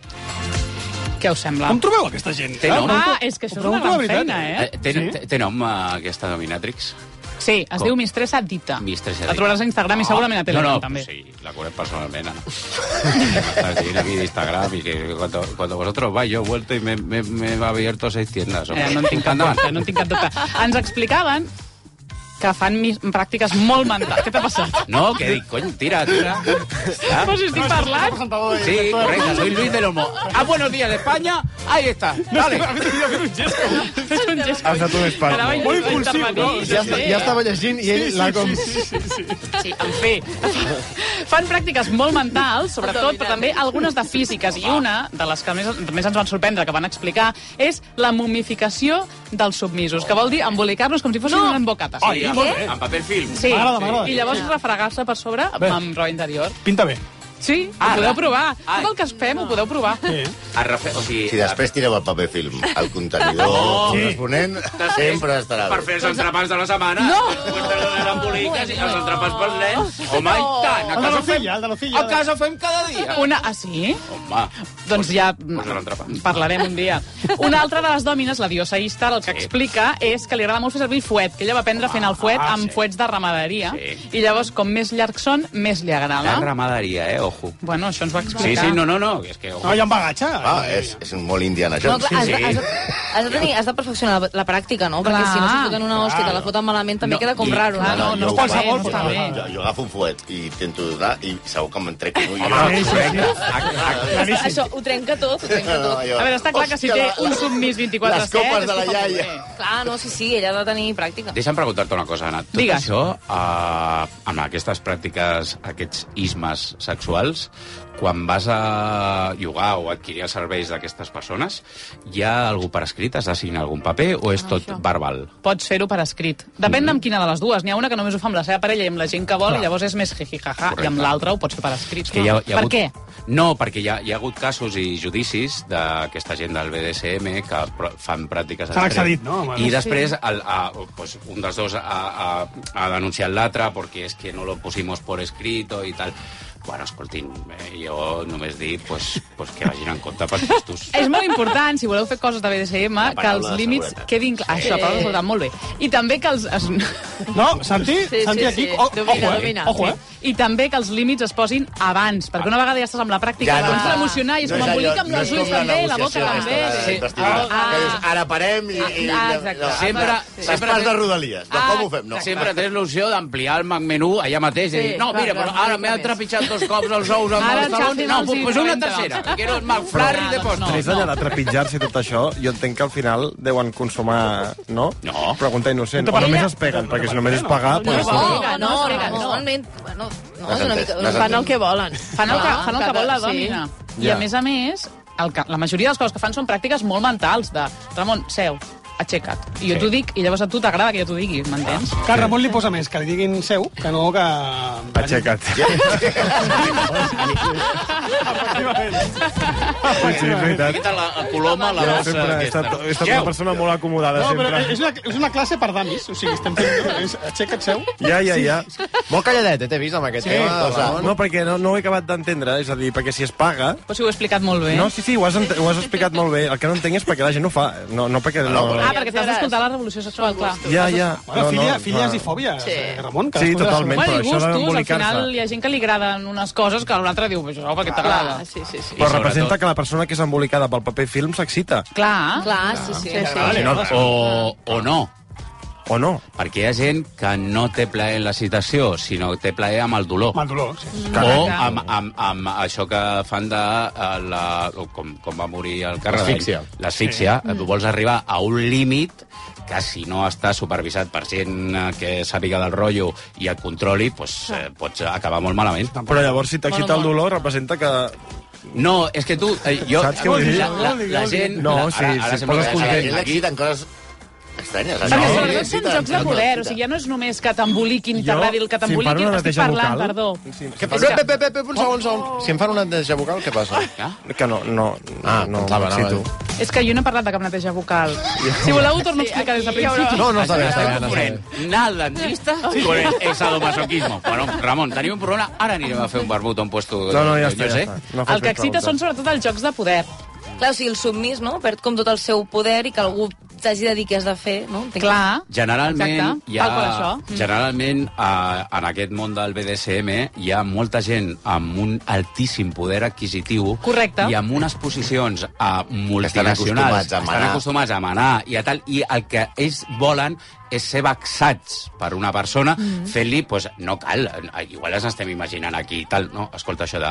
[SPEAKER 6] Què us sembla?
[SPEAKER 8] Com trobeu aquesta gent?
[SPEAKER 2] Té nom?
[SPEAKER 6] Ah, és que això és una gran feina, eh?
[SPEAKER 2] Té, té, té nom, eh, aquesta dominatrix?
[SPEAKER 6] Sí, es
[SPEAKER 2] Com?
[SPEAKER 6] diu Mistressa Dita.
[SPEAKER 2] Mistressa
[SPEAKER 6] La
[SPEAKER 2] Dita.
[SPEAKER 6] trobaràs a Instagram i segurament a Telegram,
[SPEAKER 2] no, no,
[SPEAKER 6] també.
[SPEAKER 2] Sí, la conec personalment. Ana. Estás en aquí de Instagram y que cuando, cuando vosotros vais, yo he vuelto y me, me, me he abierto seis tiendas.
[SPEAKER 6] Eh, no en tinc cap dubte, no en tinc cap dubte. Ens explicaven que fan mis- pràctiques molt mentals. Què t'ha passat?
[SPEAKER 2] No, que dic, cony, tira, tira. Ja.
[SPEAKER 6] Però si estic parlant...
[SPEAKER 2] Sí, correcto, soy Luis del Olmo. Ah, buenos días, España. Ahí está. Dale.
[SPEAKER 8] Dale.
[SPEAKER 6] És un Francesc.
[SPEAKER 3] Ha estat un espant.
[SPEAKER 6] Anava a
[SPEAKER 3] Molt impulsiu,
[SPEAKER 6] intervenir,
[SPEAKER 3] no? Ja
[SPEAKER 6] sí,
[SPEAKER 3] està-
[SPEAKER 6] eh?
[SPEAKER 3] ja estava llegint i ell l'ha com-
[SPEAKER 6] Sí, sí, sí, sí. sí en fer. Fan pràctiques molt mentals, sobretot, però també algunes de físiques. I una de les que més, més ens van sorprendre, que van explicar, és la momificació dels submisos, que vol dir embolicar-los com si fossin no. una embocata.
[SPEAKER 2] Sí, amb, amb paper film.
[SPEAKER 6] Sí, i llavors refregar-se per sobre amb,
[SPEAKER 2] Bé.
[SPEAKER 6] amb roba interior.
[SPEAKER 8] Pinta bé.
[SPEAKER 6] Sí, ho
[SPEAKER 2] Ara.
[SPEAKER 6] podeu provar. Tot el que es fem ho podeu provar.
[SPEAKER 2] A refe... O sigui,
[SPEAKER 4] Si després tireu el paper film al contenidor
[SPEAKER 2] Oh.
[SPEAKER 4] corresponent, sempre estarà
[SPEAKER 2] per
[SPEAKER 4] bé.
[SPEAKER 2] fer els entrepans de la setmana. No! Les emboliques i els entrepans pels nens. Home, i tant! A casa fem...
[SPEAKER 8] el de la
[SPEAKER 2] A casa fem cada dia.
[SPEAKER 6] Una... Ah, sí?
[SPEAKER 2] Home,
[SPEAKER 6] Doncs ja
[SPEAKER 2] posa l'entrepà.
[SPEAKER 6] parlarem un dia. Una altra de les dòmines, la diosaista, el que explica és que li agrada molt fer servir fuet, que ella va aprendre fent el
[SPEAKER 2] Ah,
[SPEAKER 6] fuet amb fuets de ramaderia. I llavors, com més llargs són, més li
[SPEAKER 2] La
[SPEAKER 6] agrada.
[SPEAKER 2] ramaderia, eh? Ojo.
[SPEAKER 6] Bueno, això ens ho va
[SPEAKER 2] Sí,
[SPEAKER 6] explicar.
[SPEAKER 2] sí, no, no, no. És que, ojo.
[SPEAKER 4] No,
[SPEAKER 8] hi ha un bagatge.
[SPEAKER 4] Ah, és, és un molt indiana,
[SPEAKER 7] No,
[SPEAKER 4] Jones.
[SPEAKER 7] clar, has, de, has, de, has, de tenir, has de perfeccionar la, la pràctica, no? Perquè
[SPEAKER 6] Clar.
[SPEAKER 7] si no s'hi foten una hòstia i te la
[SPEAKER 4] Claro.
[SPEAKER 7] foten malament, també queda com raro.
[SPEAKER 4] jo ho faig,
[SPEAKER 7] està
[SPEAKER 4] jo-
[SPEAKER 7] bé.
[SPEAKER 4] Jo, jo agafo un fuet i intento donar i segur que me'n trec un ull.
[SPEAKER 2] Home, Ah, sí, sí.
[SPEAKER 7] Això ho trenca tot, ho trenca tot.
[SPEAKER 4] No, jo-
[SPEAKER 6] A veure, està clar que si té
[SPEAKER 7] Hòstia, la-
[SPEAKER 6] un submís 24
[SPEAKER 4] les copes de la iaia.
[SPEAKER 7] Clar, no, sí, sí, ella ha de tenir pràctica.
[SPEAKER 2] Deixa'm preguntar-te una cosa, Anna. Tot
[SPEAKER 7] Digues.
[SPEAKER 2] això, eh, amb aquestes pràctiques, aquests ismes sexuals, quan vas a llogar o adquirir els serveis d'aquestes persones, hi ha algú per escrit? Has de signar algun paper o és tot verbal?
[SPEAKER 6] Pots fer-ho per escrit. Depèn mm. amb quina de les dues. N'hi ha una que només ho fa amb la seva parella i amb la gent que vol,
[SPEAKER 2] Clar.
[SPEAKER 6] i llavors és més jijijaja, i amb
[SPEAKER 2] Correcte.
[SPEAKER 6] l'altra ho pots fer per escrit.
[SPEAKER 2] És que hi ha, hi ha
[SPEAKER 6] per
[SPEAKER 2] hagut...
[SPEAKER 6] què?
[SPEAKER 2] No, perquè hi ha, hi ha hagut casos i judicis d'aquesta gent del BDSM que pro- fan pràctiques...
[SPEAKER 8] S'han
[SPEAKER 2] extremes.
[SPEAKER 8] excedit, no? Bueno,
[SPEAKER 2] I
[SPEAKER 8] sí.
[SPEAKER 2] després el, a, pues, un dels dos ha, ha, ha denunciat l'altre perquè és que no lo pusimos por escrito i tal. Bueno, escoltin, eh, jo només dic pues, pues que vagin en compte pels gustos.
[SPEAKER 6] És molt important, si voleu fer coses de BDSM,
[SPEAKER 2] paraula
[SPEAKER 6] que els
[SPEAKER 2] de
[SPEAKER 6] límits
[SPEAKER 2] seguretat.
[SPEAKER 6] quedin clars.
[SPEAKER 2] Sí.
[SPEAKER 6] Això, però ho molt bé. I també que els... Es...
[SPEAKER 3] eh.
[SPEAKER 8] No, Santi, Sí, sí, Santi aquí, sí. o- ojo, Domina, eh? domina. Ojo, eh?
[SPEAKER 6] I també que els límits es posin abans, perquè una vegada ja estàs amb la pràctica,
[SPEAKER 8] Ja
[SPEAKER 6] ja,
[SPEAKER 8] no.
[SPEAKER 6] no. pots emocionar i és
[SPEAKER 8] No
[SPEAKER 6] com
[SPEAKER 8] és allò-
[SPEAKER 6] embolica amb
[SPEAKER 8] no
[SPEAKER 6] els
[SPEAKER 8] és com
[SPEAKER 6] ulls
[SPEAKER 8] la
[SPEAKER 6] també, la boca
[SPEAKER 8] negociació
[SPEAKER 6] també.
[SPEAKER 8] aquesta de-
[SPEAKER 6] Sí.
[SPEAKER 4] Vestidura.
[SPEAKER 6] Ah.
[SPEAKER 4] Que dius, ara parem i... i
[SPEAKER 6] Ah, exacte. Ah,
[SPEAKER 4] no,
[SPEAKER 2] Sempre-
[SPEAKER 4] les
[SPEAKER 2] sempre
[SPEAKER 4] parts de
[SPEAKER 2] tens-
[SPEAKER 4] Rodalies. De com ho fem? No.
[SPEAKER 2] Sempre tens l'opció d'ampliar el menú allà mateix.
[SPEAKER 4] Sí,
[SPEAKER 2] Sí, dir, no,
[SPEAKER 4] clar,
[SPEAKER 2] mira,
[SPEAKER 4] clar,
[SPEAKER 2] però
[SPEAKER 4] una
[SPEAKER 2] ara
[SPEAKER 4] mica
[SPEAKER 2] m'he
[SPEAKER 4] més.
[SPEAKER 2] trepitjat dos cops els ous amb
[SPEAKER 4] Ara
[SPEAKER 2] els talons.
[SPEAKER 4] Chelsea
[SPEAKER 2] No,
[SPEAKER 4] no els hi
[SPEAKER 2] pues una
[SPEAKER 4] comenta,
[SPEAKER 2] tercera.
[SPEAKER 4] doncs.
[SPEAKER 2] Quiero el McFlurry de postre.
[SPEAKER 3] Més enllà de trepitjar-se i tot això, jo entenc que al final deuen consumar, no? No. Pregunta innocent. O només es peguen, perquè si només es pagar...
[SPEAKER 5] No,
[SPEAKER 3] doncs-
[SPEAKER 5] no,
[SPEAKER 7] No,
[SPEAKER 5] no,
[SPEAKER 7] no,
[SPEAKER 5] no.
[SPEAKER 7] normalment... Bueno, no, és una
[SPEAKER 3] entès,
[SPEAKER 7] mica...
[SPEAKER 3] no s'ha
[SPEAKER 5] Fan el que volen.
[SPEAKER 6] Fan el que,
[SPEAKER 7] Ah,
[SPEAKER 6] fan el que
[SPEAKER 7] cada-
[SPEAKER 6] vol la
[SPEAKER 7] sí.
[SPEAKER 6] dòmina. Sí. I
[SPEAKER 3] Ja.
[SPEAKER 6] a més a més, el que, la majoria de les coses que fan són pràctiques molt mentals, de Ramon, seu, aixeca't. I jo
[SPEAKER 8] Sí. Ah.
[SPEAKER 6] t'ho dic, i llavors a tu t'agrada que jo t'ho digui, m'entens?
[SPEAKER 8] Que el Ramon li posa més, que li diguin seu, que no que...
[SPEAKER 3] Aixeca't. Sí, és veritat.
[SPEAKER 2] Quita la, la coloma, la
[SPEAKER 3] Jo
[SPEAKER 2] bossa
[SPEAKER 3] sempre he
[SPEAKER 2] aquesta.
[SPEAKER 3] estat, he estat una persona molt acomodada,
[SPEAKER 8] No, però
[SPEAKER 3] sempre.
[SPEAKER 8] és una, és una classe per damis, o sigui, estem fent... No? És, aixeca't seu.
[SPEAKER 3] Ja, ja, ja.
[SPEAKER 1] Molt calladet, eh, t'he vist amb aquest
[SPEAKER 3] Sí,
[SPEAKER 1] tema.
[SPEAKER 3] posa.
[SPEAKER 1] Ramon.
[SPEAKER 3] no, perquè no, no ho he acabat d'entendre, és a dir, perquè si es paga...
[SPEAKER 6] Però si ho he explicat molt bé. Ah,
[SPEAKER 3] No, sí, sí, ho has, ent- ho has explicat molt bé. El que no entenc és perquè la gent ho fa, no, no perquè... No,
[SPEAKER 6] Ah, perquè t'has d'escoltar la revolució sexual, clar.
[SPEAKER 3] Ja, ja.
[SPEAKER 8] Bueno,
[SPEAKER 3] No, no,
[SPEAKER 8] filia,
[SPEAKER 3] no.
[SPEAKER 8] filies i fòbies, eh, Ramon.
[SPEAKER 3] Sí, totalment,
[SPEAKER 6] bueno,
[SPEAKER 3] però
[SPEAKER 6] i
[SPEAKER 3] això
[SPEAKER 6] gustos, al
[SPEAKER 3] d'embolicar-se.
[SPEAKER 6] final hi ha gent que li agraden unes coses que l'altre diu, això perquè t'agrada.
[SPEAKER 8] Ah,
[SPEAKER 5] Sí, sí, sí.
[SPEAKER 3] Però representa que la persona que és embolicada pel paper film s'excita.
[SPEAKER 6] Clar.
[SPEAKER 5] Clar, sí, sí. sí, sí.
[SPEAKER 2] Vale, Ah, no, o, o no.
[SPEAKER 3] O no.
[SPEAKER 2] Perquè hi ha gent que no té plaer en la citació, sinó que té plaer amb el dolor.
[SPEAKER 8] Amb el dolor, sí.
[SPEAKER 2] O amb, amb, amb això que fan de eh, la, com, com va morir el Carradell.
[SPEAKER 1] L'asfíxia.
[SPEAKER 2] L'asfíxia. Tu vols arribar a un límit que si no està supervisat per gent eh, que sàpiga del rotllo i et controli, doncs, eh, pots acabar molt malament.
[SPEAKER 3] Però llavors, si t'excita el dolor, representa que...
[SPEAKER 2] No, és que tu... Eh, jo,
[SPEAKER 3] Saps què vull dir?
[SPEAKER 2] la, la, la gent...
[SPEAKER 3] No,
[SPEAKER 2] la,
[SPEAKER 3] sí, sí,
[SPEAKER 2] sembla
[SPEAKER 3] poses
[SPEAKER 2] que-
[SPEAKER 3] content.
[SPEAKER 2] Aquí,
[SPEAKER 4] Tant coses estranyes.
[SPEAKER 6] Perquè sobretot són jocs de poder, o sigui, ja no és només que t'emboliquin i
[SPEAKER 1] Jo,
[SPEAKER 6] t'agradi el
[SPEAKER 1] si
[SPEAKER 6] que
[SPEAKER 1] em fan
[SPEAKER 6] t'emboliquin,
[SPEAKER 1] una
[SPEAKER 6] estic
[SPEAKER 1] neteja
[SPEAKER 6] parlant,
[SPEAKER 1] vocal-
[SPEAKER 6] perdó.
[SPEAKER 1] Què passa? Pep, pep, pep, pep, un segon, un segon. Si em fan una neteja vocal, què passa?
[SPEAKER 3] Que no, no, ah, no, no
[SPEAKER 1] pensava,
[SPEAKER 3] m'excito.
[SPEAKER 6] És que jo no he parlat de cap neteja vocal. Si voleu, ho torno a explicar des del
[SPEAKER 1] hi haurà-
[SPEAKER 6] principi.
[SPEAKER 1] No, no, està bé, està bé,
[SPEAKER 2] Ramon
[SPEAKER 1] Anna,
[SPEAKER 2] Ponent, anar al dentista
[SPEAKER 6] Sí.
[SPEAKER 2] con el exadomasoquismo. Bueno, Ramon, tenim un problema, ara anirem a fer un barbut a un puesto...
[SPEAKER 3] No, no, ja està,
[SPEAKER 2] jo
[SPEAKER 3] ja
[SPEAKER 2] sé.
[SPEAKER 3] està.
[SPEAKER 6] El que excita són sobretot els jocs de poder.
[SPEAKER 7] Clar, o sigui, el submís, no?, perd com tot el seu poder i que algú t'hagi de dir què has de fer, no? Entenc.
[SPEAKER 6] Clar.
[SPEAKER 2] Generalment,
[SPEAKER 7] Exacte,
[SPEAKER 2] hi ha,
[SPEAKER 7] tal qual això. Mm.
[SPEAKER 2] generalment a, en aquest món del BDSM hi ha molta gent amb un altíssim poder adquisitiu
[SPEAKER 6] Correcte.
[SPEAKER 2] i amb unes posicions a multinacionals
[SPEAKER 4] acostumats a manar.
[SPEAKER 2] estan acostumats a manar i a tal, i el que ells volen és ser vexats per una persona, mm -hmm. fent-li, pues, no cal, eh, igual ens estem imaginant aquí i tal, no? Escolta, això de...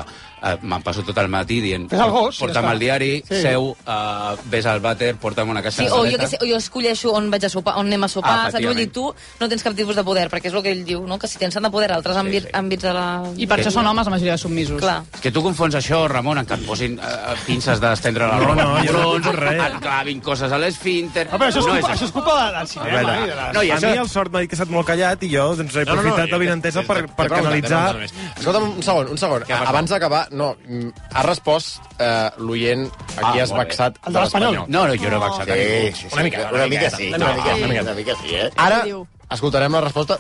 [SPEAKER 2] Eh, Me'n passo tot el matí dient...
[SPEAKER 17] Fes el gos,
[SPEAKER 2] Porta'm
[SPEAKER 17] ja està.
[SPEAKER 2] el diari,
[SPEAKER 17] Sí.
[SPEAKER 2] sí. seu, eh, ves al vàter, porta'm una caixa
[SPEAKER 7] Sí,
[SPEAKER 2] de
[SPEAKER 7] o jo,
[SPEAKER 2] galetes.
[SPEAKER 7] que sé, o jo escolleixo on vaig a sopar, on anem a sopar,
[SPEAKER 2] Ah,
[SPEAKER 7] ah, saps? Vull dir,
[SPEAKER 2] efectivament.
[SPEAKER 7] tu no tens cap tipus de poder, perquè és el que ell diu, no? que si tens tant de poder a altres àmbits, àmbits de la...
[SPEAKER 6] I per això són homes, la majoria de submisos.
[SPEAKER 7] Clar.
[SPEAKER 2] És que tu confons això, Ramon, en que et posin eh, pinces d'estendre la roba.
[SPEAKER 6] No, no, jo no
[SPEAKER 2] Brons,
[SPEAKER 6] he dit res.
[SPEAKER 2] Et clavin coses a l'esfínter...
[SPEAKER 8] Ah, però això és culpa,
[SPEAKER 2] així.
[SPEAKER 8] això és culpa de- del
[SPEAKER 3] A
[SPEAKER 8] cinema. eh,
[SPEAKER 3] veure,
[SPEAKER 8] i de les-
[SPEAKER 3] no, i això... a mi el sort m'ha dit que he estat molt callat i jo doncs, he
[SPEAKER 1] No, no, no,
[SPEAKER 3] aprofitat
[SPEAKER 1] jo-
[SPEAKER 3] l'avinentesa per,
[SPEAKER 1] Té
[SPEAKER 3] per
[SPEAKER 1] raó,
[SPEAKER 3] canalitzar...
[SPEAKER 1] té raó, Ernest. Escolta'm, un segon, un segon. Abans d'acabar, no, mm, ha respost eh, l'oient a qui
[SPEAKER 2] Ah,
[SPEAKER 1] has
[SPEAKER 2] molt bé.
[SPEAKER 1] vexat
[SPEAKER 2] El de l'Espanyol.
[SPEAKER 1] No, no, jo no he vexat a ningú.
[SPEAKER 4] Sí, sí,
[SPEAKER 1] Una mica,
[SPEAKER 4] una mica sí.
[SPEAKER 1] Una mica, una mica.
[SPEAKER 4] Una mica sí, eh?
[SPEAKER 1] Ara escoltarem la resposta,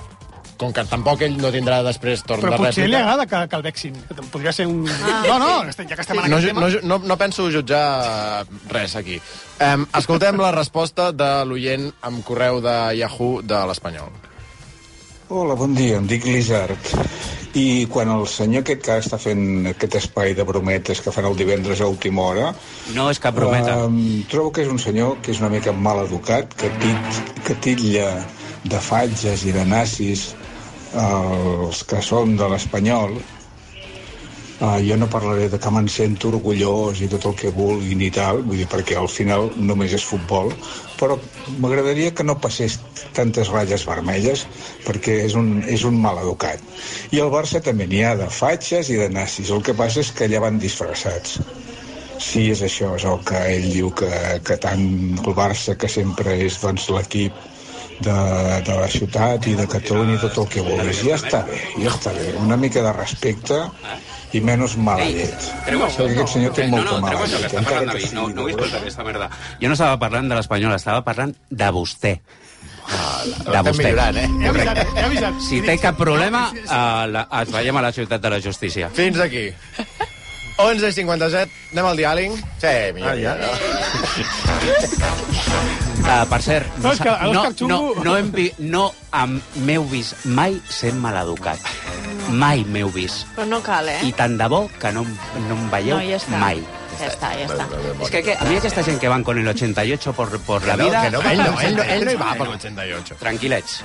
[SPEAKER 1] com que tampoc ell no tindrà després torn
[SPEAKER 8] Però
[SPEAKER 1] de
[SPEAKER 8] potser li
[SPEAKER 1] rèplica.
[SPEAKER 8] agrada que, que el vexin. Que podria ser un... No, no, ja que estem en
[SPEAKER 1] No,
[SPEAKER 8] aquest
[SPEAKER 1] ju-
[SPEAKER 8] tema...
[SPEAKER 1] no, ju- no, no penso jutjar res aquí. Um, escoltem la resposta de l'oient amb correu de Yahoo de l'Espanyol.
[SPEAKER 18] Hola, bon dia, em dic Lizard. I quan el senyor aquest que està fent aquest espai de brometes que fan el divendres a última hora...
[SPEAKER 2] No és cap brometa.
[SPEAKER 18] Eh, trobo que és un senyor que és una mica mal educat, que, tit, que titlla de fatges i de nazis els que són de l'espanyol. Eh, jo no parlaré de que me'n sento orgullós i tot el que vulguin i tal, vull dir, perquè al final només és futbol, però m'agradaria que no passés tantes ratlles vermelles perquè és un, és un mal educat. I al Barça també n'hi ha de fatxes i de nazis, el que passa és que allà van disfressats. Sí, és això, és el que ell diu que, que tant el Barça, que sempre és doncs, l'equip de, de la ciutat i de Catalunya i tot el que vulguis. Ja està bé, ja està bé. Una mica de respecte i menys mala llet. Aquest senyor té
[SPEAKER 2] no,
[SPEAKER 18] molta
[SPEAKER 2] no, treu
[SPEAKER 18] mala
[SPEAKER 2] això, que
[SPEAKER 18] llet,
[SPEAKER 2] està parlant
[SPEAKER 18] encara que
[SPEAKER 2] David. No, no ho he
[SPEAKER 18] dolorosa.
[SPEAKER 2] escoltat, aquesta merda. Jo no estava parlant de l'Espanyol, estava parlant de vostè. De
[SPEAKER 4] estem
[SPEAKER 2] vostè.
[SPEAKER 4] millorant, eh?
[SPEAKER 8] He avisat, he avisat.
[SPEAKER 2] Si té cap problema, a la, ens veiem a la ciutat de la justícia.
[SPEAKER 1] Fins aquí. 11 i 57, anem al diàling? Sí, millor. Ah, ja,
[SPEAKER 2] Uh, per cert,
[SPEAKER 8] No,
[SPEAKER 2] no,
[SPEAKER 8] és que
[SPEAKER 2] sa- no,
[SPEAKER 8] l'Òscar
[SPEAKER 2] no,
[SPEAKER 8] Xungo-
[SPEAKER 2] no, hem vi, no em- m'heu vist mai sent maleducat. Mai m'heu vist.
[SPEAKER 5] Però no cal, eh?
[SPEAKER 2] I tant de bo que no, em- no em veieu
[SPEAKER 5] No, ja està.
[SPEAKER 2] mai.
[SPEAKER 5] Ja està, ja està.
[SPEAKER 2] Es que, que a mí aquesta gent que van con el 88 por, por la
[SPEAKER 1] Que no,
[SPEAKER 2] vida... eh,
[SPEAKER 1] que no, que no, ell no- ell no- ell no hi va per l'88.
[SPEAKER 2] Tranquil·lets.